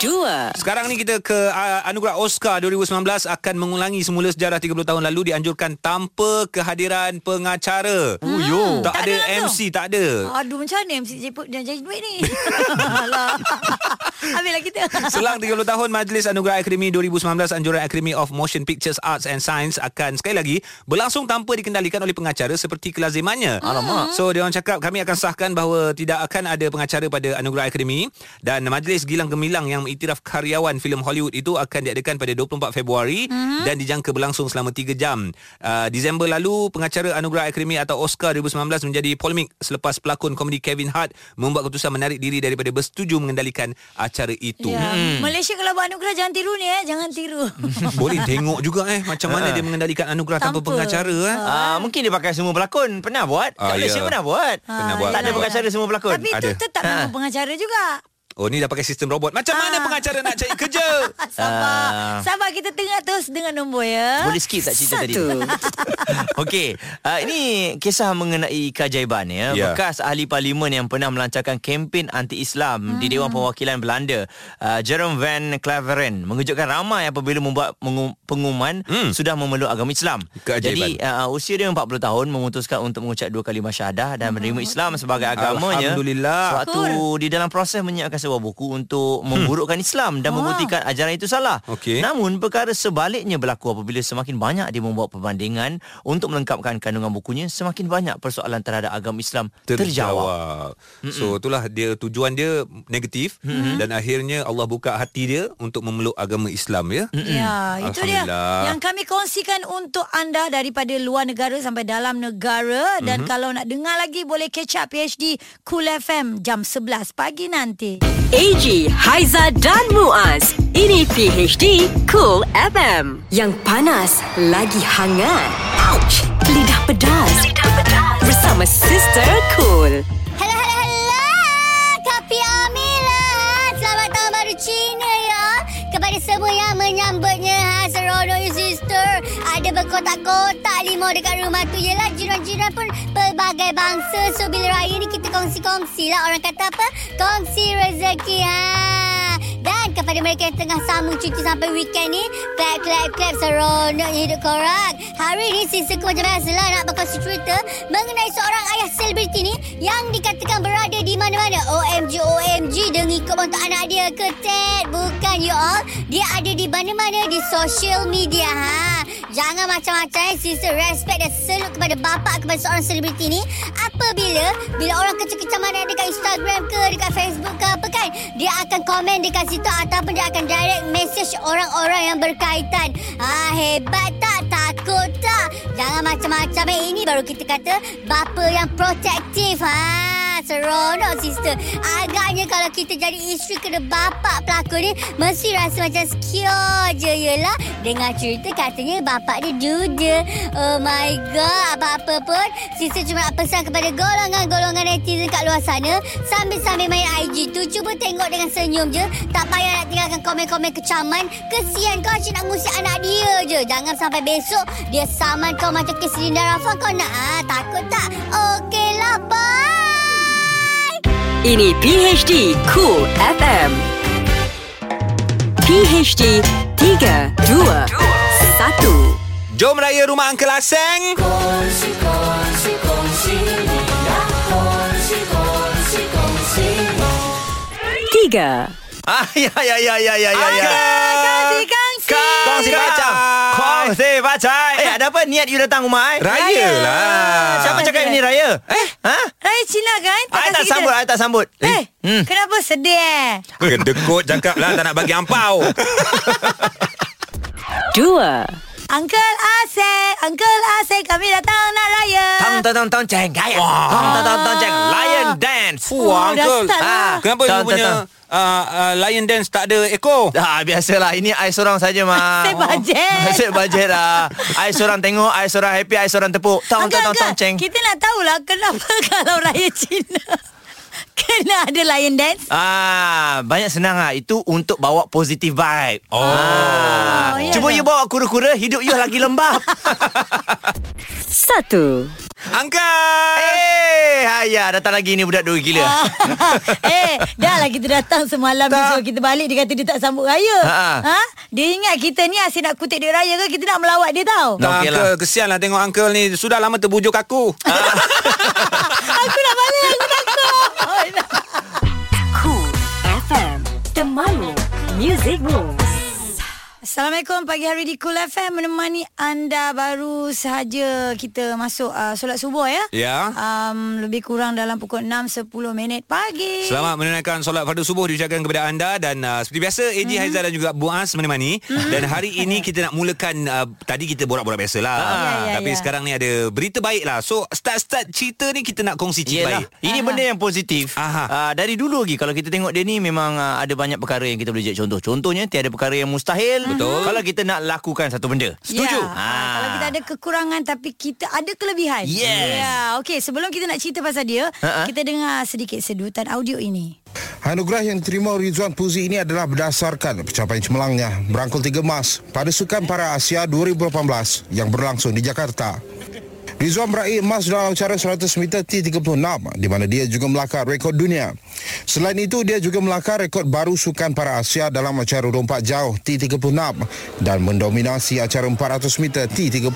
Speaker 4: 2
Speaker 2: Sekarang ni kita ke uh, Anugerah Oscar 2019 akan mengulangi semula sejarah 30 tahun lalu dianjurkan tanpa kehadiran pengacara. Oh, yo. Tak,
Speaker 1: Ah,
Speaker 2: ada,
Speaker 1: Tak ada langsung.
Speaker 2: MC, tak ada.
Speaker 1: Aduh macam mana MC Jeput dia jadi duit ni Alah Habislah kita
Speaker 2: Selang 30 tahun Majlis Anugerah Akademi 2019 2019 anjuran Academy of Motion Pictures Arts and Science akan sekali lagi berlangsung tanpa dikendalikan oleh pengacara seperti kelazimannya. Alamak. So dia orang cakap kami akan sahkan bahawa tidak akan ada pengacara pada Anugerah Akademi dan majlis Gilang Gemilang yang mengiktiraf karyawan filem Hollywood itu akan diadakan pada 24 Februari mm-hmm. dan dijangka berlangsung selama 3 jam. Uh, Disember lalu pengacara Anugerah Akademi atau Oscar 2019 menjadi polemik selepas pelakon komedi Kevin Hart membuat keputusan menarik diri daripada bersetuju mengendalikan acara itu.
Speaker 1: Ya. Hmm. Malaysia kalau buat anugerah jangan tiru ni eh, jangan tiru.
Speaker 2: Boleh tengok juga eh macam mana dia mengendalikan anugerah tanpa,
Speaker 1: Tanpa. Ha.
Speaker 2: pengacara eh.
Speaker 3: Ah, mungkin dia pakai semua pelakon. Pernah buat? Kat
Speaker 2: Ah,
Speaker 3: Malaysia
Speaker 2: ya.
Speaker 3: pernah buat.
Speaker 1: Ha, Ah,
Speaker 2: Pernah buat.
Speaker 3: Tak ada
Speaker 2: Pernah
Speaker 3: pengacara semua pelakon.
Speaker 1: Tapi
Speaker 2: Ada.
Speaker 1: itu tetap
Speaker 3: Ha.
Speaker 1: memang pengacara juga.
Speaker 2: Oh ni dah pakai sistem robot. Macam mana pengacara nak cari kerja?
Speaker 1: Ah, sabar.
Speaker 3: Ah.
Speaker 1: Sabar kita tengah terus dengan nombor ya.
Speaker 2: Ah,
Speaker 3: Boleh skip tak cerita tadi?
Speaker 1: Satu.
Speaker 3: Okey, uh, ini kisah mengenai keajaiban ya.
Speaker 2: Ya.
Speaker 3: Yeah. Bekas ahli parlimen yang pernah melancarkan kempen anti-Islam hmm. di Dewan Perwakilan Belanda, uh, Jerome Van Claveren mengejutkan ramai apabila membuat mengum- pengumuman
Speaker 2: Hmm.
Speaker 3: hmm. sudah memeluk agama Islam.
Speaker 2: Keajaiban.
Speaker 3: Jadi uh, usia dia 40 tahun memutuskan untuk mengucap dua kalimah syahadah dan menerima Islam sebagai agamanya.
Speaker 2: Hmm. Alhamdulillah.
Speaker 3: Suatu di dalam proses menyiapkan sebuah buku untuk memburukkan Islam dan membuktikan ajaran itu salah.
Speaker 2: Okey.
Speaker 3: Namun perkara sebaliknya berlaku apabila semakin banyak dia membuat perbandingan untuk melengkapkan kandungan bukunya, semakin banyak persoalan terhadap agama Islam terjawab.
Speaker 2: So itulah dia tujuan dia negatif mm-hmm. dan akhirnya Allah buka hati dia untuk memeluk agama Islam ya.
Speaker 1: Ya, itu dia
Speaker 2: Alhamdulillah.
Speaker 1: yang kami kongsikan untuk anda daripada luar negara sampai dalam negara
Speaker 3: Mhm.
Speaker 1: dan kalau nak dengar lagi boleh catch up PhD Cool FM jam 11 pagi nanti.
Speaker 4: AG, Haiza dan Muaz. Ini PHD Cool FM. Yang panas, lagi hangat. Ouch! Lidah pedas. Lidah pedas. Bersama Sister Cool.
Speaker 8: Hello, hello, hello. Kopi Amila. Selamat tahun baru Cina ya. Kepada semua yang menyambutnya. Ha, seronok ya, sister. Ada berkotak-kotak limau dekat rumah tu. Yelah, jiran-jiran pun pelbagai bangsa. So, bila raya ni kita kongsi-kongsi lah. Orang kata apa? Kongsi rezeki. Ha. Dan kepada mereka yang tengah sambung cuti sampai weekend ni Clap, clap, clap Seronoknya hidup korang Hari ni Sisa ku macam biasalah Nak berkongsi cerita Mengenai seorang ayah selebriti ni Yang dikatakan berada di mana-mana OMG, OMG Dia ngikut untuk anak dia ke Ted Bukan you all Dia ada di mana-mana Di social media ha. Jangan macam-macam eh Sisa respect dan salute kepada bapa Kepada seorang selebriti ni Apabila Bila orang kecil-kecil mana Dekat Instagram ke Dekat Facebook ke apa kan Dia akan komen dekat situ Ataupun dia akan direct message Orang-orang yang berkaitan Ah Hebat tak? Takut tak? Jangan macam-macam eh Ini baru kita kata Bapa yang protektif ha. Seronok sister Agaknya kalau kita jadi isteri Kena bapak pelakon ni Mesti rasa macam secure je Yelah Dengar cerita katanya Bapak dia duda Oh my god Apa-apa pun Sister cuma nak pesan kepada Golongan-golongan netizen kat luar sana Sambil-sambil main IG tu Cuba tengok dengan senyum je Tak payah nak tinggalkan komen-komen kecaman Kesian kau cik nak ngusik anak dia je Jangan sampai besok Dia saman kau macam Kesrin dan Rafa Kau nak ah, takut tak Okeylah bye
Speaker 4: Ini PHD Cool FM. PHD 3, 2, 1.
Speaker 2: Jom raya rumah Uncle Aseng.
Speaker 4: Tiga.
Speaker 3: Ah ya ya ya ya ya ya. ya.
Speaker 1: Kongsi, kongsi.
Speaker 3: Kongsi bacai. Kongsi bacai. Eh ada apa niat you datang rumah eh?
Speaker 2: Raya lah.
Speaker 3: Siapa cakap ini raya? Eh? Ha?
Speaker 1: Raya Cina kan?
Speaker 3: Ai tak
Speaker 1: kasi kita-
Speaker 3: sambut, ai tak sambut.
Speaker 1: Eh, kenapa sedih eh?
Speaker 2: Kedekut cakap lah tak nak bagi ampau.
Speaker 4: Dua.
Speaker 1: Uncle Asek, Uncle Asek kami datang nak raya.
Speaker 3: Tang tang tang tang ceng gaya. Tang tang tang tang ceng lion dance.
Speaker 1: Oh,
Speaker 2: Wah, Uncle.
Speaker 1: dah start lah.
Speaker 3: Ah,
Speaker 2: Kenapa you
Speaker 3: tang, tang,
Speaker 2: punya
Speaker 3: tang.
Speaker 2: uh, uh, lion dance tak ada ekor?
Speaker 3: Ah, biasalah. Ini I seorang saja, Ma.
Speaker 1: Asyik bajet.
Speaker 3: Oh, Asyik bajet lah. I seorang tengok, I seorang happy, I seorang tepuk. Tong,
Speaker 1: Angkat,
Speaker 3: tong, tong,
Speaker 1: angkat.
Speaker 3: tong, ceng.
Speaker 1: Kita nak tahulah kenapa kalau raya Cina kena ada lion dance.
Speaker 3: Ah, banyak senang ah. Itu untuk bawa positive vibe. Oh. Ah.
Speaker 1: ya
Speaker 3: Cuba
Speaker 1: ke?
Speaker 3: you bawa kura-kura, hidup you lagi lembab.
Speaker 4: Satu.
Speaker 2: Uncle.
Speaker 3: eh, ayah datang lagi ni budak dua gila.
Speaker 1: Ah. eh, dah lah kita datang semalam dia suruh kita balik dia kata dia tak sambut raya.
Speaker 3: Ha-ha.
Speaker 1: Ha? Dia ingat kita ni asyik nak kutip dia raya ke kita nak melawat dia tau.
Speaker 2: Tak,
Speaker 3: Okey
Speaker 2: okay
Speaker 3: lah.
Speaker 2: Uncle. Kesianlah tengok Uncle ni. Sudah lama terbujuk aku.
Speaker 1: aku nak balik aku takut. Oh, nak.
Speaker 4: Cool FM. The Mamu Music Moves.
Speaker 1: Assalamualaikum pagi hari di Cool FM menemani anda baru sahaja kita masuk uh, solat subuh ya.
Speaker 2: Ya.
Speaker 1: Um, lebih kurang dalam pukul 6.10 minit pagi.
Speaker 2: Selamat menunaikan solat fardu subuh diucapkan kepada anda dan uh, seperti biasa AJ
Speaker 1: Mhm.
Speaker 2: mm-hmm. Haizal dan juga Buas menemani mm-hmm. dan hari ini kita nak mulakan uh, tadi kita borak-borak biasalah
Speaker 1: Ya, ya,
Speaker 2: tapi
Speaker 1: ya.
Speaker 2: sekarang ni ada berita baik lah so start-start cerita ni kita nak kongsi cerita
Speaker 3: Yelah,
Speaker 2: baik
Speaker 3: ini benda yang positif.
Speaker 2: Aha.
Speaker 3: Uh, dari dulu lagi kalau kita tengok dia ni memang uh, ada banyak perkara yang kita boleh jadi contoh. Contohnya tiada perkara yang mustahil Betul. kalau kita nak lakukan satu benda.
Speaker 1: Ya. Ah. Kalau kita ada kekurangan tapi kita ada kelebihan.
Speaker 3: Yes.
Speaker 1: Ya. Okey, sebelum kita nak cerita pasal dia,
Speaker 3: Ha-ha.
Speaker 1: kita dengar sedikit sedutan audio ini.
Speaker 9: Anugerah yang diterima Rizwan Puzi ini adalah berdasarkan pencapaian cemerlangnya merangkul tiga emas pada Sukan Para Asia 2018 yang berlangsung di Jakarta. Rizwan meraih emas dalam acara 100 meter T36 di mana dia juga melakar rekod dunia. Selain itu, dia juga melakar rekod baru Sukan Para Asia dalam acara lompat jauh T36 dan mendominasi acara 400 meter T36.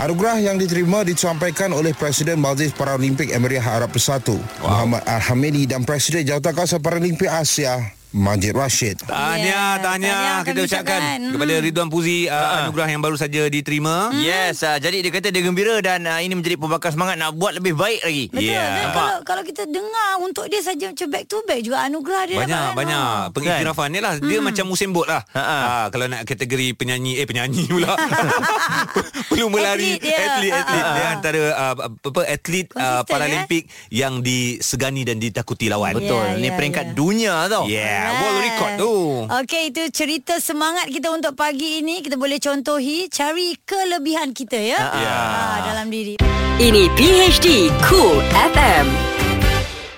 Speaker 9: Anugerah yang diterima disampaikan oleh Presiden Majlis Paralimpik Emiriah Arab Bersatu, wow. Muhammad Al-Hamidi dan Presiden Jawatankuasa Paralimpik Asia, Majid Rashid.
Speaker 2: Tahniah,
Speaker 1: Ya,
Speaker 2: tahniah
Speaker 1: tahniah
Speaker 2: kita
Speaker 1: kami
Speaker 2: ucapkan
Speaker 1: ucapkan. Ah. Mm.
Speaker 2: kepada Ridwan Puzi uh, anugerah yang baru saja diterima.
Speaker 3: Yes, uh, jadi dia kata dia gembira dan uh, ini menjadi pembakar semangat nak buat lebih baik lagi.
Speaker 1: Betul
Speaker 2: Yeah.
Speaker 1: kan? Kalau, kalau kita dengar untuk dia saja macam back to back juga anugerah dia
Speaker 2: Banyak
Speaker 1: dapatkan.
Speaker 2: banyak
Speaker 1: Oh.
Speaker 2: pengiktirafan ni lah
Speaker 1: Hmm.
Speaker 2: dia macam musim bot lah.
Speaker 3: Kan? Ha, ha.
Speaker 2: Ha, kalau nak kategori penyanyi eh penyanyi pula. Perlu melari
Speaker 1: Atlet dia.
Speaker 2: atlet atlet
Speaker 1: Ha, ha.
Speaker 2: dia antara uh, apa atlet
Speaker 1: Konsisten, eh?
Speaker 2: uh, paralimpik yang disegani dan ditakuti lawan.
Speaker 3: Betul.
Speaker 1: Ya,
Speaker 3: ni
Speaker 1: ya, Oh,
Speaker 3: peringkat
Speaker 1: ya.
Speaker 3: dunia tau.
Speaker 2: Yeah, world
Speaker 1: Yes.
Speaker 2: record tu.
Speaker 1: Okey, itu cerita semangat kita untuk pagi ini. Kita boleh contohi cari kelebihan kita ya.
Speaker 2: Ya.
Speaker 1: Ah, dalam diri.
Speaker 4: Ini PHD Cool FM.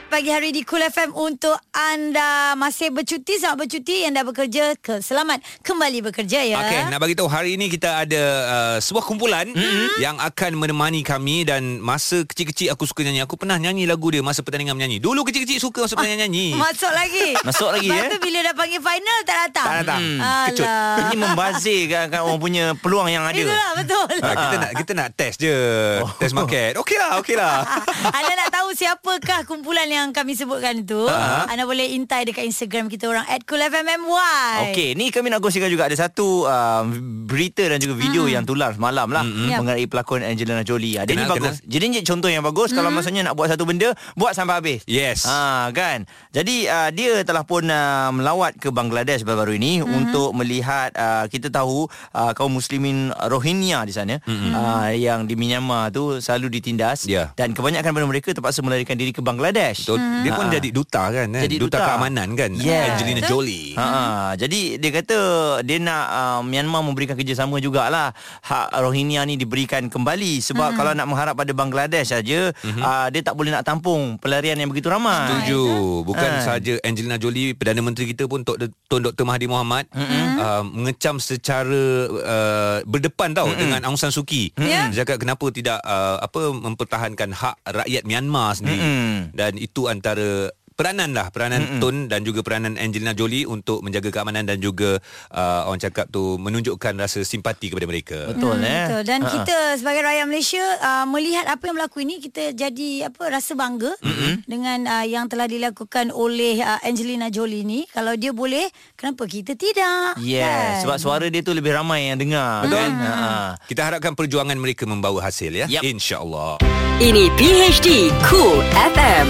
Speaker 1: Pagi hari di Cool FM untuk anda masih bercuti, selamat bercuti. Yang dah bekerja, ke, selamat kembali bekerja ya.
Speaker 2: Okey, nak bagi tahu hari ini kita ada uh, sebuah kumpulan mm-hmm. yang akan menemani kami dan masa kecil-kecil aku suka nyanyi. Aku pernah nyanyi lagu dia masa pertandingan menyanyi. Dulu kecil-kecil suka
Speaker 1: Ah,
Speaker 2: masa pertandingan nyanyi.
Speaker 1: Masuk lagi.
Speaker 3: Masuk lagi,
Speaker 1: Lepas
Speaker 3: eh?
Speaker 1: tu bila dah panggil final tak datang.
Speaker 2: ya? Tak datang.
Speaker 1: Hmm.
Speaker 2: Hmm, kecut.
Speaker 1: Alah.
Speaker 3: Ini membazirkan kan orang punya peluang yang ada.
Speaker 1: Itulah betul.
Speaker 2: Ha, kita nak kita nak test je. Oh. Test market. Okeylah, okeylah.
Speaker 1: Ah, Anda nak tahu siapakah kumpulan yang kami sebutkan itu uh-huh.
Speaker 2: Ha.
Speaker 1: Anda boleh intai dekat Instagram kita orang At KoolFMMY
Speaker 3: Okey, ni kami nak kongsikan juga ada satu uh, berita dan juga video mm. yang tular semalam lah mm.
Speaker 1: Hmm. Ya.
Speaker 3: mengenai pelakon Angelina Jolie. Ada
Speaker 2: Hmm,
Speaker 3: ni
Speaker 2: Kenal,
Speaker 3: bagus. Jadi ni contoh yang bagus mm. kalau
Speaker 1: Hmm.
Speaker 3: maksudnya nak buat satu benda, buat sampai habis.
Speaker 2: Yes.
Speaker 3: Ha kan. Jadi uh, dia telah pun uh, melawat ke Bangladesh baru-baru ini
Speaker 1: Hmm.
Speaker 3: mm. untuk melihat uh, kita tahu uh, kaum muslimin Rohingya di sana mm. uh, yang di Myanmar tu selalu ditindas
Speaker 2: Hmm, Ya.
Speaker 3: dan kebanyakan daripada mereka terpaksa melarikan diri ke Bangladesh.
Speaker 2: So, hmm. Dia pun
Speaker 3: Ha.
Speaker 2: jadi duta kan, kan?
Speaker 3: Jadi
Speaker 2: duta,
Speaker 3: duta.
Speaker 2: keamanan kan
Speaker 3: Yeah.
Speaker 2: Angelina
Speaker 1: Betul.
Speaker 2: Jolie
Speaker 3: Ha, ha. Jadi dia kata dia nak uh, Myanmar memberikan kerjasama jugalah hak Rohingya ni diberikan kembali
Speaker 2: Hmm.
Speaker 3: sebab kalau nak mengharap pada Bangladesh saja uh, dia tak boleh nak tampung pelarian yang begitu ramai.
Speaker 2: Mhm. Setuju Bukan
Speaker 3: Ha.
Speaker 2: sahaja Angelina Jolie Perdana Menteri kita pun Tok- Tun Dr. Mahathir Mohamad uh, Mengecam secara uh, Berdepan tau Dengan Aung San Suu Kyi
Speaker 1: Ya.
Speaker 2: Dia cakap kenapa tidak uh, apa Mempertahankan hak rakyat Myanmar sendiri
Speaker 3: Mm-mm.
Speaker 2: Dan itu antara Peranan lah Peranan Tun Dan juga peranan Angelina Jolie Untuk menjaga keamanan Dan juga uh, Orang cakap tu Menunjukkan rasa simpati kepada mereka
Speaker 3: Betul eh.
Speaker 1: Betul. Dan
Speaker 3: Ha, ha.
Speaker 1: kita sebagai rakyat Malaysia uh, melihat apa yang berlaku ini kita jadi apa rasa bangga mm-hmm. dengan uh, yang telah dilakukan oleh uh, Angelina Jolie ni. Kalau dia boleh, kenapa kita tidak?
Speaker 2: Kan?
Speaker 1: Kan?
Speaker 3: Yeah, sebab suara dia tu lebih ramai yang dengar Betul.
Speaker 2: Hmm.
Speaker 3: kan. Ha, ha.
Speaker 2: Kita harapkan perjuangan mereka membawa hasil ya.
Speaker 3: Yap.
Speaker 2: InsyaAllah.
Speaker 4: Ini PHD Cool FM.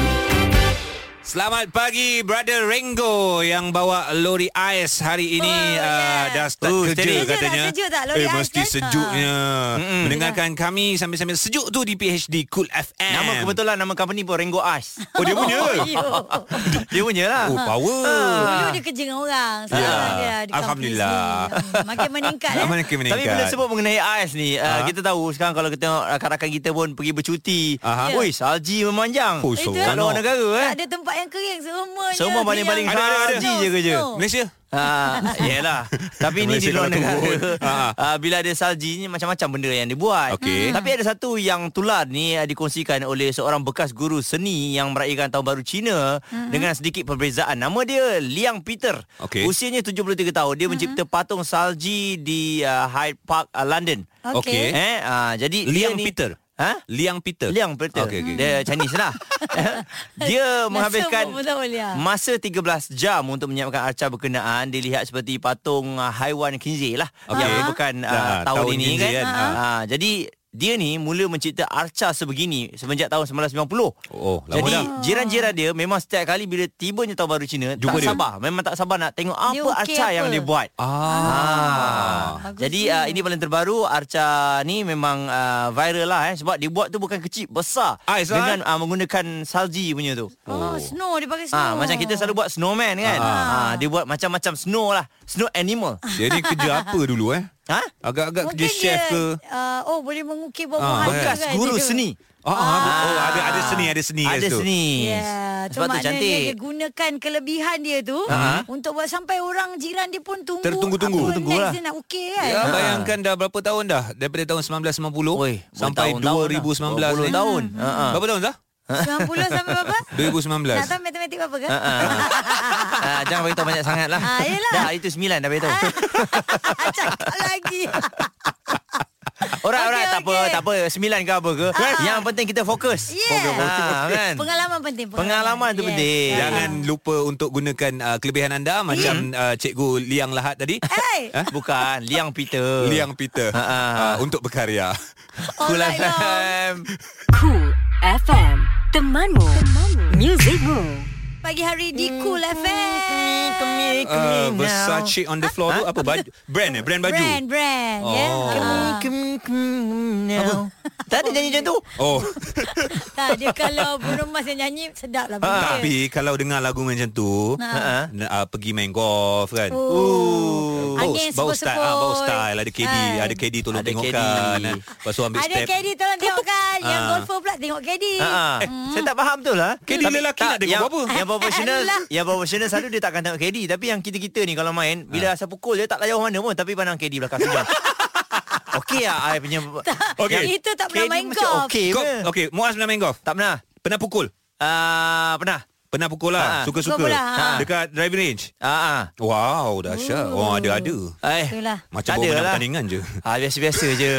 Speaker 2: Selamat pagi Brother Rengo yang bawa lori ais hari ini oh, yeah. uh, dah start oh,
Speaker 3: Oh,
Speaker 2: kerja
Speaker 3: steady.
Speaker 1: Sejuk tak?
Speaker 2: katanya.
Speaker 1: Sejuk tak lori
Speaker 2: eh,
Speaker 1: ais
Speaker 2: mesti
Speaker 1: kan?
Speaker 2: sejuknya. Mm-mm. Mendengarkan kami sambil-sambil sejuk tu di PHD Cool FM.
Speaker 3: Nama lah. kebetulan nama company pun Rengo Ice.
Speaker 2: Oh dia punya.
Speaker 1: Oh, yo.
Speaker 3: dia punya lah.
Speaker 2: Oh power.
Speaker 1: Ha. Dulu dia kerja dengan orang. Sekarang
Speaker 2: Ya.
Speaker 1: dia di company
Speaker 2: Alhamdulillah.
Speaker 1: sendiri. Hmm, Makin meningkat.
Speaker 2: Nak
Speaker 1: eh.
Speaker 2: mana meningkat.
Speaker 3: Tapi bila sebut mengenai ais ni uh, Kita tahu sekarang kalau kita tengok Rakan-rakan kita pun pergi bercuti
Speaker 2: Aha.
Speaker 3: Oi salji memanjang
Speaker 2: Oh,
Speaker 1: Itu.
Speaker 2: seronok.
Speaker 3: Kalau negara eh
Speaker 1: Tak ada tempat yang kering semuanya.
Speaker 3: Semua baling-baling
Speaker 1: Dia yang-
Speaker 3: haji
Speaker 1: Snow,
Speaker 3: je kerja.
Speaker 1: snow.
Speaker 2: Malaysia.
Speaker 3: Ha, yelah. Tapi ni
Speaker 2: Malaysia
Speaker 3: di luar
Speaker 2: kalau
Speaker 3: negara.
Speaker 2: turun. Ha, ha.
Speaker 3: Ha, bila ada salji ni macam-macam benda yang dibuat. Hmm.
Speaker 2: Okey.
Speaker 3: Tapi ada satu yang tular ni ah, dikongsikan oleh seorang bekas guru seni yang meraihkan tahun baru Cina
Speaker 1: Hmm.
Speaker 3: dengan sedikit perbezaan. Nama dia Liang Peter.
Speaker 2: Okey.
Speaker 3: Usianya 73 tahun.
Speaker 1: Hmm.
Speaker 3: Dia mencipta patung salji di uh, Hyde Park, uh, London.
Speaker 1: Okey.
Speaker 2: Okey.
Speaker 3: Eh, ah, jadi dia
Speaker 2: Liang
Speaker 3: ni,
Speaker 2: Peter.
Speaker 3: Ha?
Speaker 2: Liang Peter.
Speaker 3: Liang Peter.
Speaker 2: Okey, okey.
Speaker 3: Dia Chinese lah. dia menghabiskan
Speaker 1: semua betul, ya.
Speaker 3: masa 13 jam untuk menyiapkan arca berkenaan. Dilihat seperti patung uh, haiwan kinzir lah.
Speaker 2: Okey.
Speaker 3: Yang merupakan uh,
Speaker 2: Ah,
Speaker 3: tahun,
Speaker 2: tahun
Speaker 3: ini
Speaker 2: kinzir
Speaker 3: kan.
Speaker 2: kan.
Speaker 3: Ah. Ah, jadi dia ni mula mencipta arca sebegini semenjak tahun 1990.
Speaker 2: Oh, lama
Speaker 3: Jadi
Speaker 2: dah.
Speaker 3: jiran-jiran dia memang setiap kali bila tibanya tahun baru Cina
Speaker 2: Jumpa
Speaker 3: tak
Speaker 2: dia.
Speaker 3: sabar. Memang tak sabar nak tengok apa
Speaker 1: Dia
Speaker 3: okay
Speaker 1: ukir
Speaker 3: arca
Speaker 1: apa?
Speaker 3: yang dia buat. Ah.
Speaker 1: Bagus
Speaker 3: Jadi
Speaker 1: ni.
Speaker 3: uh, ini paling terbaru Arca ni memang uh, viral lah eh sebab dia buat tu bukan kecil besar
Speaker 2: Ais lah,
Speaker 3: dengan uh, menggunakan salji punya tu.
Speaker 1: Oh, snow dia pakai snow.
Speaker 3: Ah macam kita selalu buat snowman kan. Ah, dia buat macam-macam snow lah, snow animal.
Speaker 2: Dia ni kerja apa dulu eh?
Speaker 1: Ah.
Speaker 3: Ha?
Speaker 2: Agak-agak kerja
Speaker 1: Mungkin
Speaker 2: chef
Speaker 1: dia,
Speaker 2: ke?
Speaker 1: Uh, oh, boleh mengukir
Speaker 2: Ah,
Speaker 1: buah-buahan tu
Speaker 3: Bekas
Speaker 1: kan.
Speaker 3: guru
Speaker 1: Dia-
Speaker 3: seni.
Speaker 2: Oh, ah. oh ada ada seni, ada seni kat
Speaker 3: Ada
Speaker 2: situ.
Speaker 3: seni.
Speaker 1: Yeah.
Speaker 3: Sebab tu
Speaker 1: maknanya
Speaker 3: cantik.
Speaker 1: Ya, Dia gunakan kelebihan dia tu untuk buat sampai orang jiran dia pun tunggu.
Speaker 2: Tertunggu-tunggu.
Speaker 1: Apa
Speaker 2: Tunggu
Speaker 1: next
Speaker 2: lah.
Speaker 1: dia nak ukir kan.
Speaker 3: Ha.
Speaker 2: Ya, bayangkan dah berapa tahun dah daripada tahun 1990
Speaker 3: Oi,
Speaker 2: sampai
Speaker 3: bertahun-tahun
Speaker 2: 2019
Speaker 3: dah. 20
Speaker 2: ni.
Speaker 3: tahun. Ha, ha.
Speaker 2: Berapa tahun dah?
Speaker 1: 90 sampai berapa?
Speaker 2: 2019.
Speaker 1: Nak tahu matematik berapa ke?
Speaker 3: Ah, jangan beritahu banyak sangat lah.
Speaker 1: Ah, yelah. Ah,
Speaker 3: Dah, itu sembilan dah beritahu.
Speaker 1: Cakap lagi.
Speaker 3: Orang,
Speaker 1: Okey,
Speaker 3: orang, tak apa,
Speaker 1: okey. Ah.
Speaker 3: tak apa. Sembilan ke apa ke. Yang penting kita fokus.
Speaker 1: Yeah.
Speaker 3: Ah, kan?
Speaker 1: Pengalaman penting.
Speaker 3: Pengalaman tu penting.
Speaker 2: Jangan lupa untuk gunakan uh, kelebihan anda
Speaker 3: Hmm.
Speaker 2: macam uh, cikgu Liang Lahat tadi.
Speaker 1: Hey,
Speaker 3: Bukan, Liang Peter.
Speaker 2: Eh? Liang Peter
Speaker 3: Ha, ha.
Speaker 2: uh, untuk berkarya.
Speaker 3: Cool
Speaker 1: alright dong.
Speaker 3: FM.
Speaker 4: Cool FM Temanmu Temanmu Muzikmu
Speaker 1: Pagi hari di Cool FM.
Speaker 2: Uh, Versace on the floor tu
Speaker 3: Ha?
Speaker 2: apa baju brand eh brand baju.
Speaker 1: Brand, brand. Yeah.
Speaker 2: Oh.
Speaker 1: Ah.
Speaker 3: Tak ada nyanyi macam tu.
Speaker 2: Oh,
Speaker 1: Tak, dia kalau Bruno Mars yang nyanyi, sedap
Speaker 2: Ha,
Speaker 3: Ha.
Speaker 1: lah. bunyi dia.
Speaker 2: tapi kalau dengar lagu macam tu, uh, uh, pergi main golf kan.
Speaker 1: Oh.
Speaker 2: Bau,
Speaker 1: Angin
Speaker 2: bau style, ah, bau style ada KD,
Speaker 1: Kan.
Speaker 2: ada KD tolong
Speaker 3: Ada
Speaker 2: tengokkan.
Speaker 3: KD.
Speaker 2: ah. Lepas tu ambil
Speaker 1: Ada
Speaker 2: step.
Speaker 1: KD tolong tengokkan. Yang
Speaker 2: Ah.
Speaker 1: golfer pula tengok KD.
Speaker 3: Ha, Saya tak faham tu lah
Speaker 2: KD
Speaker 3: Tapi
Speaker 2: ah. lelaki
Speaker 3: tak,
Speaker 2: nak tengok
Speaker 3: yang,
Speaker 2: apa?
Speaker 3: Yang profesional
Speaker 1: Eh, Alah.
Speaker 3: Yang profesional selalu Dia takkan tengok KD Tapi yang kita-kita ni Kalau main
Speaker 2: Ah.
Speaker 3: Bila asal pukul Dia tak layak mana pun Tapi pandang KD belakang sejam Okey lah I punya
Speaker 2: Okey.
Speaker 1: Yang itu tak pernah
Speaker 3: KD
Speaker 1: main
Speaker 3: macam
Speaker 1: golf.
Speaker 3: Okey
Speaker 2: Golf,
Speaker 3: ke?
Speaker 2: Okey, Muaz pernah main golf?
Speaker 3: Tak pernah
Speaker 2: Pernah pukul?
Speaker 3: Ah, Pernah
Speaker 2: Pernah pukul
Speaker 3: Ah.
Speaker 2: lah, suka-suka.
Speaker 1: Pukul bola, ah.
Speaker 2: Dekat driving range.
Speaker 3: Ah, ah.
Speaker 2: Wow, dahsyat. Oh, ada-ada.
Speaker 3: Eh,
Speaker 1: Itulah.
Speaker 2: Macam
Speaker 3: tak
Speaker 2: baru menang
Speaker 3: ada lah.
Speaker 2: pertandingan je.
Speaker 3: Ah, biasa-biasa je.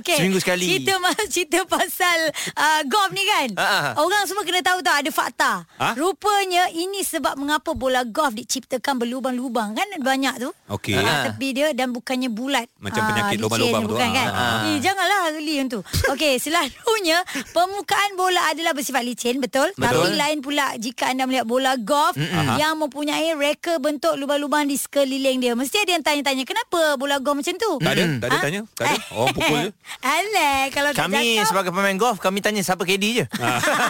Speaker 1: okay.
Speaker 3: Seminggu sekali.
Speaker 1: Cerita, mas, cerita pasal uh, golf ni kan
Speaker 3: Ha, ha.
Speaker 1: Orang semua kena tahu tau Ada fakta
Speaker 2: Ha?
Speaker 1: Rupanya ini sebab mengapa bola golf diciptakan berlubang-lubang Kan banyak tu
Speaker 2: Okey.
Speaker 1: Ah,
Speaker 2: Ha.
Speaker 1: Tepi dia dan bukannya bulat
Speaker 2: Macam
Speaker 1: Ah,
Speaker 2: penyakit
Speaker 1: licin,
Speaker 2: lubang-lubang tu,
Speaker 1: bukan,
Speaker 2: ah.
Speaker 1: kan? Eh, janganlah geli yang tu Okey selalunya Permukaan bola adalah bersifat licin Betul? Tapi lain pula jika anda melihat bola golf Yang mempunyai reka bentuk lubang-lubang di sekeliling dia Mesti ada yang tanya-tanya Kenapa bola golf macam tu?
Speaker 2: Tak ada?
Speaker 3: Mm.
Speaker 2: Tak ada
Speaker 1: Ah?
Speaker 2: tanya? Tak ada? Orang pukul je?
Speaker 1: Alah, kalau tak
Speaker 3: Kami
Speaker 1: cakap.
Speaker 3: sebagai pemain golf Kami tanya siapa KD je
Speaker 2: Ah.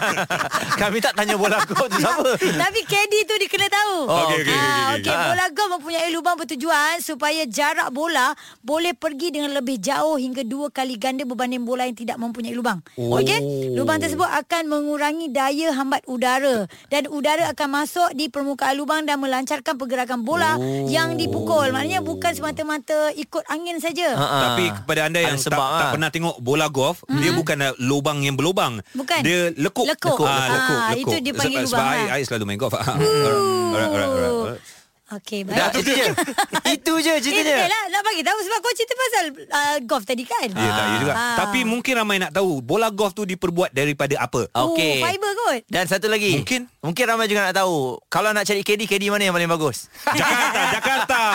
Speaker 3: Kami tak tanya bola golf tu siapa
Speaker 1: Eh, Tapi KD tu dia kena tahu.
Speaker 3: Oh, okey,
Speaker 2: okey, okey,
Speaker 1: Ah,
Speaker 2: okey.
Speaker 1: okey, bola golf mempunyai lubang bertujuan supaya jarak bola boleh pergi dengan lebih jauh hingga dua kali ganda berbanding bola yang tidak mempunyai lubang.
Speaker 2: Oh.
Speaker 1: Okey? Lubang tersebut akan mengurangi daya hambat udara dan udara akan masuk di permukaan lubang dan melancarkan pergerakan bola
Speaker 2: Oh.
Speaker 1: yang dipukul. Maknanya bukan semata-mata ikut angin saja.
Speaker 2: Ha,
Speaker 3: Ah, ah.
Speaker 2: Tapi kepada anda yang
Speaker 3: Ada
Speaker 2: tak,
Speaker 3: sebab,
Speaker 2: tak
Speaker 3: ah.
Speaker 2: pernah tengok bola golf, mm-hmm. dia bukan uh, lubang yang berlubang.
Speaker 1: Hmm. Bukan.
Speaker 2: Dia lekuk.
Speaker 1: Lekuk.
Speaker 2: Ah,
Speaker 1: Ah,
Speaker 2: lekuk, lekuk.
Speaker 1: itu dia panggil
Speaker 2: sebab,
Speaker 1: lubang,
Speaker 2: Sebab
Speaker 1: ah.
Speaker 2: I, I selalu main golf. Alright, alright, alright, alright.
Speaker 1: Okey, baik.
Speaker 3: Dah itu je Itu je
Speaker 1: Eh, betul
Speaker 3: ceritanya
Speaker 1: lah. Nak bagi tahu sebab kau cerita pasal uh, golf tadi kan?
Speaker 2: Ya, tak ya juga.
Speaker 1: Ah.
Speaker 2: Tapi mungkin ramai nak tahu bola golf tu diperbuat daripada apa?
Speaker 3: Okey.
Speaker 1: Oh, fiber kot.
Speaker 3: Dan satu lagi
Speaker 2: Mungkin.
Speaker 3: Mungkin ramai juga nak tahu Kalau nak cari KD KD mana yang paling bagus
Speaker 2: Jakarta, Jakarta.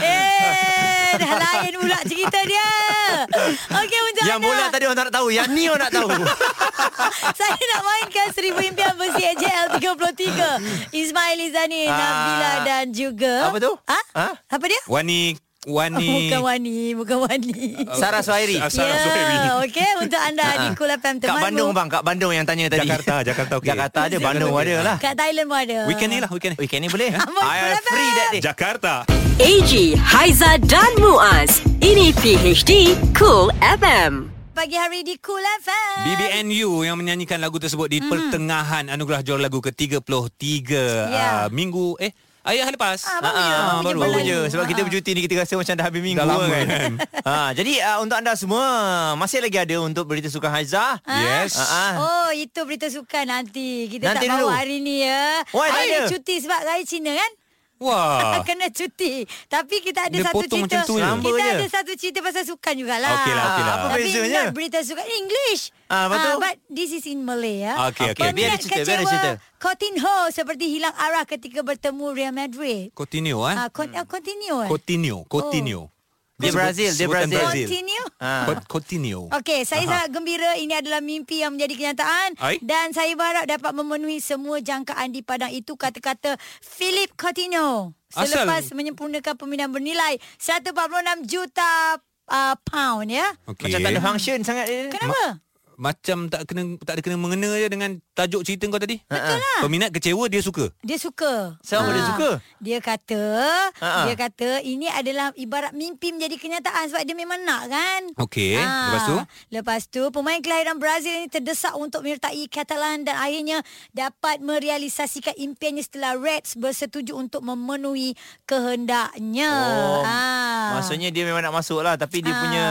Speaker 1: Eh, dah lain pula cerita dia. Okey untuk
Speaker 3: Yang
Speaker 1: anda.
Speaker 3: bola tadi orang tak nak tahu Yang ni orang nak tahu
Speaker 1: Saya nak mainkan seribu impian versi AJL 33. Ismail Izani,
Speaker 3: Ah.
Speaker 1: Nabila dan juga...
Speaker 3: Apa tu?
Speaker 1: Ha?
Speaker 3: Ha?
Speaker 1: Apa dia?
Speaker 2: Wani
Speaker 1: Oh,
Speaker 2: Wani
Speaker 1: bukan Wani, bukan Wani.
Speaker 3: Sarah Suhairi
Speaker 2: Ah,
Speaker 1: Ya,
Speaker 2: Sarah Zuhairi.
Speaker 1: okey untuk anda di
Speaker 3: Ah.
Speaker 1: Kul FM
Speaker 3: Kat
Speaker 1: temanmu.
Speaker 3: Bandung bang Kat Bandung yang tanya tadi
Speaker 2: Jakarta, Jakarta okey.
Speaker 3: Jakarta ada Bandung ada lah
Speaker 1: Kat Thailand pun ada.
Speaker 2: Weekend ni lah, weekend ni.
Speaker 3: Weekend ni boleh
Speaker 1: Amboi,
Speaker 3: I
Speaker 1: Kul
Speaker 3: free
Speaker 1: FM.
Speaker 3: that day
Speaker 2: Jakarta.
Speaker 4: AG Haiza dan Muaz Ini PHD Cool FM
Speaker 1: Pagi hari di Kul FM.
Speaker 2: BBNU yang menyanyikan lagu tersebut
Speaker 1: Hmm.
Speaker 2: di pertengahan anugerah juara lagu ke-33
Speaker 1: Ya.
Speaker 2: yeah. uh, minggu eh ayah hari lepas.
Speaker 1: Ah, baru je,
Speaker 3: Ah, ah,
Speaker 1: baru
Speaker 3: baru,
Speaker 1: je bulan
Speaker 3: je
Speaker 1: ni.
Speaker 3: Sebab kita bercuti ni Kita rasa macam dah habis minggu
Speaker 2: Dah lama
Speaker 3: kan.
Speaker 2: kan.
Speaker 3: ah, Jadi ah, untuk anda semua Masih lagi ada Untuk berita sukan Haizah
Speaker 2: Yes.
Speaker 3: ah, ah.
Speaker 1: Oh, itu berita sukan nanti. Kita
Speaker 3: Nanti
Speaker 1: tak
Speaker 3: dulu.
Speaker 1: bawa hari ni ya.
Speaker 3: Why, tak
Speaker 1: Hari
Speaker 3: ada?
Speaker 1: cuti sebab raya Cina kan?
Speaker 2: Wah.
Speaker 1: Kena cuti Tapi kita ada
Speaker 2: Ah. Dia
Speaker 1: satu
Speaker 2: potong macam
Speaker 1: cerita
Speaker 2: tu je.
Speaker 1: Kita
Speaker 3: Selamba
Speaker 1: ada
Speaker 3: je.
Speaker 1: satu cerita pasal sukan jugalah
Speaker 2: Okey lah, okey lah.
Speaker 3: Apa
Speaker 1: Tapi
Speaker 3: bezanya?
Speaker 1: not berita sukan English
Speaker 3: Ah, lepas tu?
Speaker 1: But this is in Malay ya.
Speaker 2: Ah, Okey, okey.
Speaker 3: Biar
Speaker 1: Peminat
Speaker 3: dia cerita, biar dia cerita.
Speaker 1: kecewa Coutinho seperti hilang arah ketika bertemu Real Madrid
Speaker 2: Continue eh.
Speaker 1: Ah, con- ah, Continue eh?
Speaker 2: Continue, continue.
Speaker 3: Dia Brazil, dia
Speaker 2: sebutan
Speaker 3: Brazil.
Speaker 1: Oh. Continue
Speaker 3: Ah.
Speaker 2: Co- Continue.
Speaker 1: Okey, saya sangat gembira ini adalah mimpi yang menjadi kenyataan
Speaker 2: Hai.
Speaker 1: dan saya berharap dapat memenuhi semua jangkaan di padang itu kata-kata Philip Coutinho
Speaker 2: Asal-
Speaker 1: selepas menyempurnakan pembinaan bernilai 146 juta uh, pound ya.
Speaker 2: Okey.
Speaker 3: Macam tak ada function sangat dia.
Speaker 1: Kenapa?
Speaker 2: Macam tak kena tak ada kena mengena je dengan tajuk cerita kau tadi.
Speaker 3: Betul
Speaker 2: lah. Peminat kecewa dia suka.
Speaker 1: Dia suka.
Speaker 3: Siapa dia
Speaker 1: Ah.
Speaker 3: suka? Ha,
Speaker 1: Dia kata,
Speaker 3: Ha-ha.
Speaker 1: dia kata ini adalah ibarat mimpi menjadi kenyataan sebab dia memang nak kan.
Speaker 2: Okey,
Speaker 1: Ah,
Speaker 2: lepas tu?
Speaker 1: Lepas tu pemain kelahiran Brazil ini terdesak untuk menyertai Catalan dan akhirnya dapat merealisasikan impiannya setelah Reds bersetuju untuk memenuhi kehendaknya.
Speaker 3: Oh,
Speaker 1: Ah.
Speaker 3: Maksudnya dia memang nak masuk lah Tapi dia
Speaker 1: Ah.
Speaker 3: punya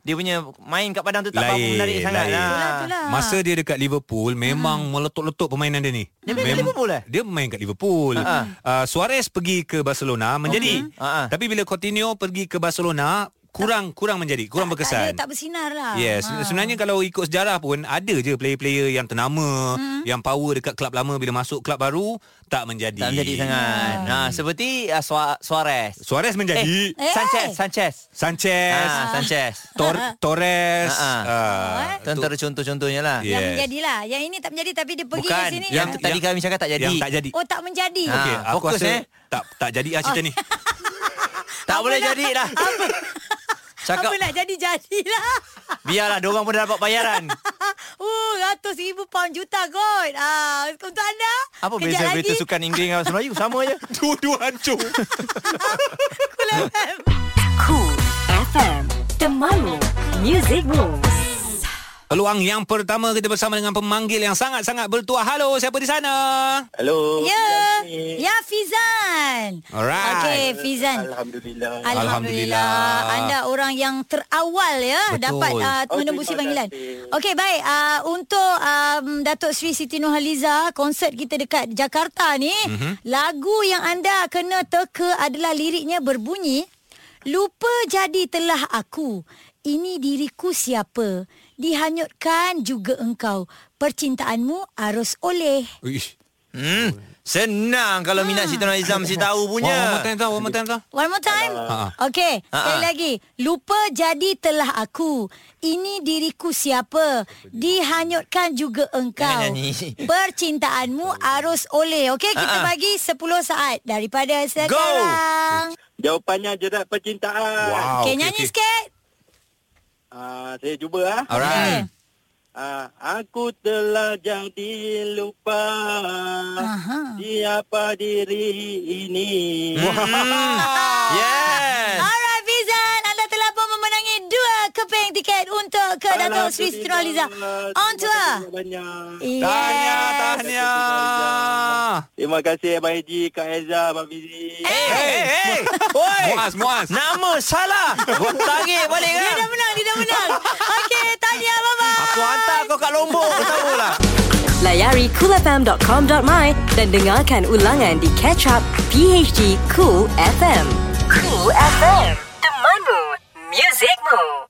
Speaker 3: Dia punya main kat padang tu tak apa
Speaker 2: Lain,
Speaker 3: menarik sangat
Speaker 2: lain.
Speaker 3: lah.
Speaker 1: Itulah, itulah.
Speaker 2: Masa dia dekat Liverpool
Speaker 1: Hmm.
Speaker 2: memang meletup-letup permainan dia ni.
Speaker 3: Dia main kat
Speaker 2: Mem-
Speaker 3: Liverpool eh?
Speaker 2: Dia main kat Liverpool.
Speaker 3: Ha-ha.
Speaker 2: Uh, Suarez pergi ke Barcelona menjadi.
Speaker 3: Ha-ha.
Speaker 2: Tapi bila Coutinho pergi ke Barcelona kurang kurang menjadi, kurang berkesan.
Speaker 1: Tak, ada, tak bersinar lah.
Speaker 2: Yes, ha. sebenarnya kalau ikut sejarah pun ada je player-player yang ternama, hmm. yang power dekat klub lama bila masuk klub baru tak menjadi.
Speaker 3: Tak menjadi sangat nah, Seperti uh, Sua- Suarez
Speaker 2: Suarez menjadi, eh.
Speaker 1: Hmm. Eh.
Speaker 3: Sanchez Sanchez
Speaker 2: Sanchez,
Speaker 3: ah, Sanchez
Speaker 2: Tor- Torres,
Speaker 3: Ha, ha.
Speaker 2: ah,
Speaker 3: Itu antara contoh-contohnya lah
Speaker 2: Yeah.
Speaker 1: Yang
Speaker 2: Yes.
Speaker 1: menjadilah. Yang ini tak menjadi tapi dia pergi
Speaker 3: Bukan
Speaker 1: ke sini.
Speaker 3: Yang
Speaker 2: Yang-
Speaker 3: tadi
Speaker 2: yang-
Speaker 3: kami cakap tak jadi
Speaker 2: yang tak jadi.
Speaker 1: Oh tak menjadi.
Speaker 3: Ah.
Speaker 2: Okey, aku
Speaker 3: fokus,
Speaker 2: rasa
Speaker 3: eh. Ah.
Speaker 2: tak tak jadi lah cerita ni.
Speaker 3: Tak boleh jadi lah Cakap
Speaker 1: Apa nak jadi jadilah.
Speaker 3: Biarlah Diorang pun dah dapat bayaran
Speaker 1: Uh, ratus ribu pound juta kot. Ah, untuk anda.
Speaker 3: Apa
Speaker 1: kejap
Speaker 3: beza
Speaker 1: lagi,
Speaker 3: berita sukan Inggeris dengan bahasa Melayu Sama je
Speaker 2: Dua-dua hancur.
Speaker 1: Cool FM.
Speaker 4: Cool FM Temanmu Music Rules
Speaker 2: Peluang yang pertama kita bersama dengan pemanggil yang sangat-sangat bertuah. Halo, siapa di sana?
Speaker 10: Hello.
Speaker 1: Ya. Ya Fizan.
Speaker 2: Alright.
Speaker 1: Okey, Fizan.
Speaker 10: Alhamdulillah.
Speaker 1: Alhamdulillah.
Speaker 2: Alhamdulillah.
Speaker 1: Anda orang yang terawal ya
Speaker 2: Betul.
Speaker 1: dapat uh,
Speaker 10: Oh,
Speaker 1: menembusi
Speaker 10: terima
Speaker 1: panggilan.
Speaker 10: kasih.
Speaker 1: Okey, baik. Uh, untuk um, Datuk Sri Siti Nurhaliza, konsert kita dekat Jakarta ni,
Speaker 2: Mhm.
Speaker 1: mm-hmm. lagu yang anda kena teka adalah liriknya berbunyi, lupa jadi telah aku. Ini diriku siapa? Dihanyutkan juga engkau. Percintaanmu arus oleh.
Speaker 2: Ish.
Speaker 3: Hmm Senang kalau
Speaker 1: Ah.
Speaker 3: minat Siti Nurhaliza mesti tahu punya.
Speaker 2: One more time tau, one more time tau.
Speaker 1: One more time.
Speaker 2: Ha-ha.
Speaker 1: Okay, sekali
Speaker 3: Ha-ha.
Speaker 1: lagi. Lupa jadi telah aku. Ini diriku siapa. Dihanyutkan juga engkau.
Speaker 3: Jangan nyanyi.
Speaker 1: Percintaanmu arus oleh. Okay, kita
Speaker 3: Ha-ha.
Speaker 1: bagi 10 saat daripada sekarang.
Speaker 10: Jawapannya jerat percintaan.
Speaker 2: Wow.
Speaker 1: Okay,
Speaker 2: Ah, okey,
Speaker 1: nyanyi
Speaker 2: okey.
Speaker 1: sikit.
Speaker 10: Ah, saya cuba ah.
Speaker 3: Alright.
Speaker 10: Ah, aku telah jadi lupa
Speaker 1: Aha.
Speaker 10: siapa diri ini.
Speaker 3: Yes.
Speaker 1: Alright, Fizan. Anda telah pun memenangi dua keping tiket untuk ke Dato' Sri Siti Nurhaliza. On tour.
Speaker 10: Banyak.
Speaker 2: Tahniah,
Speaker 1: Yes.
Speaker 2: tahniah.
Speaker 10: Terima kasih Abang Haji, Kak Ezra, Abang Fizi.
Speaker 3: Eh, eh, eh. Oi.
Speaker 2: Muaz, Muaz.
Speaker 3: Nama salah. Kau tarik balik
Speaker 1: Dia
Speaker 3: kan?
Speaker 1: dah menang, dia dah menang. Okay, tahniah. Bye-bye.
Speaker 3: Aku hantar kau kat Lombok, kau tahulah.
Speaker 4: Layari coolfm.com.my Dan dengarkan ulangan di Catch Up PHD Cool FM Cool FM Temanmu Musicmu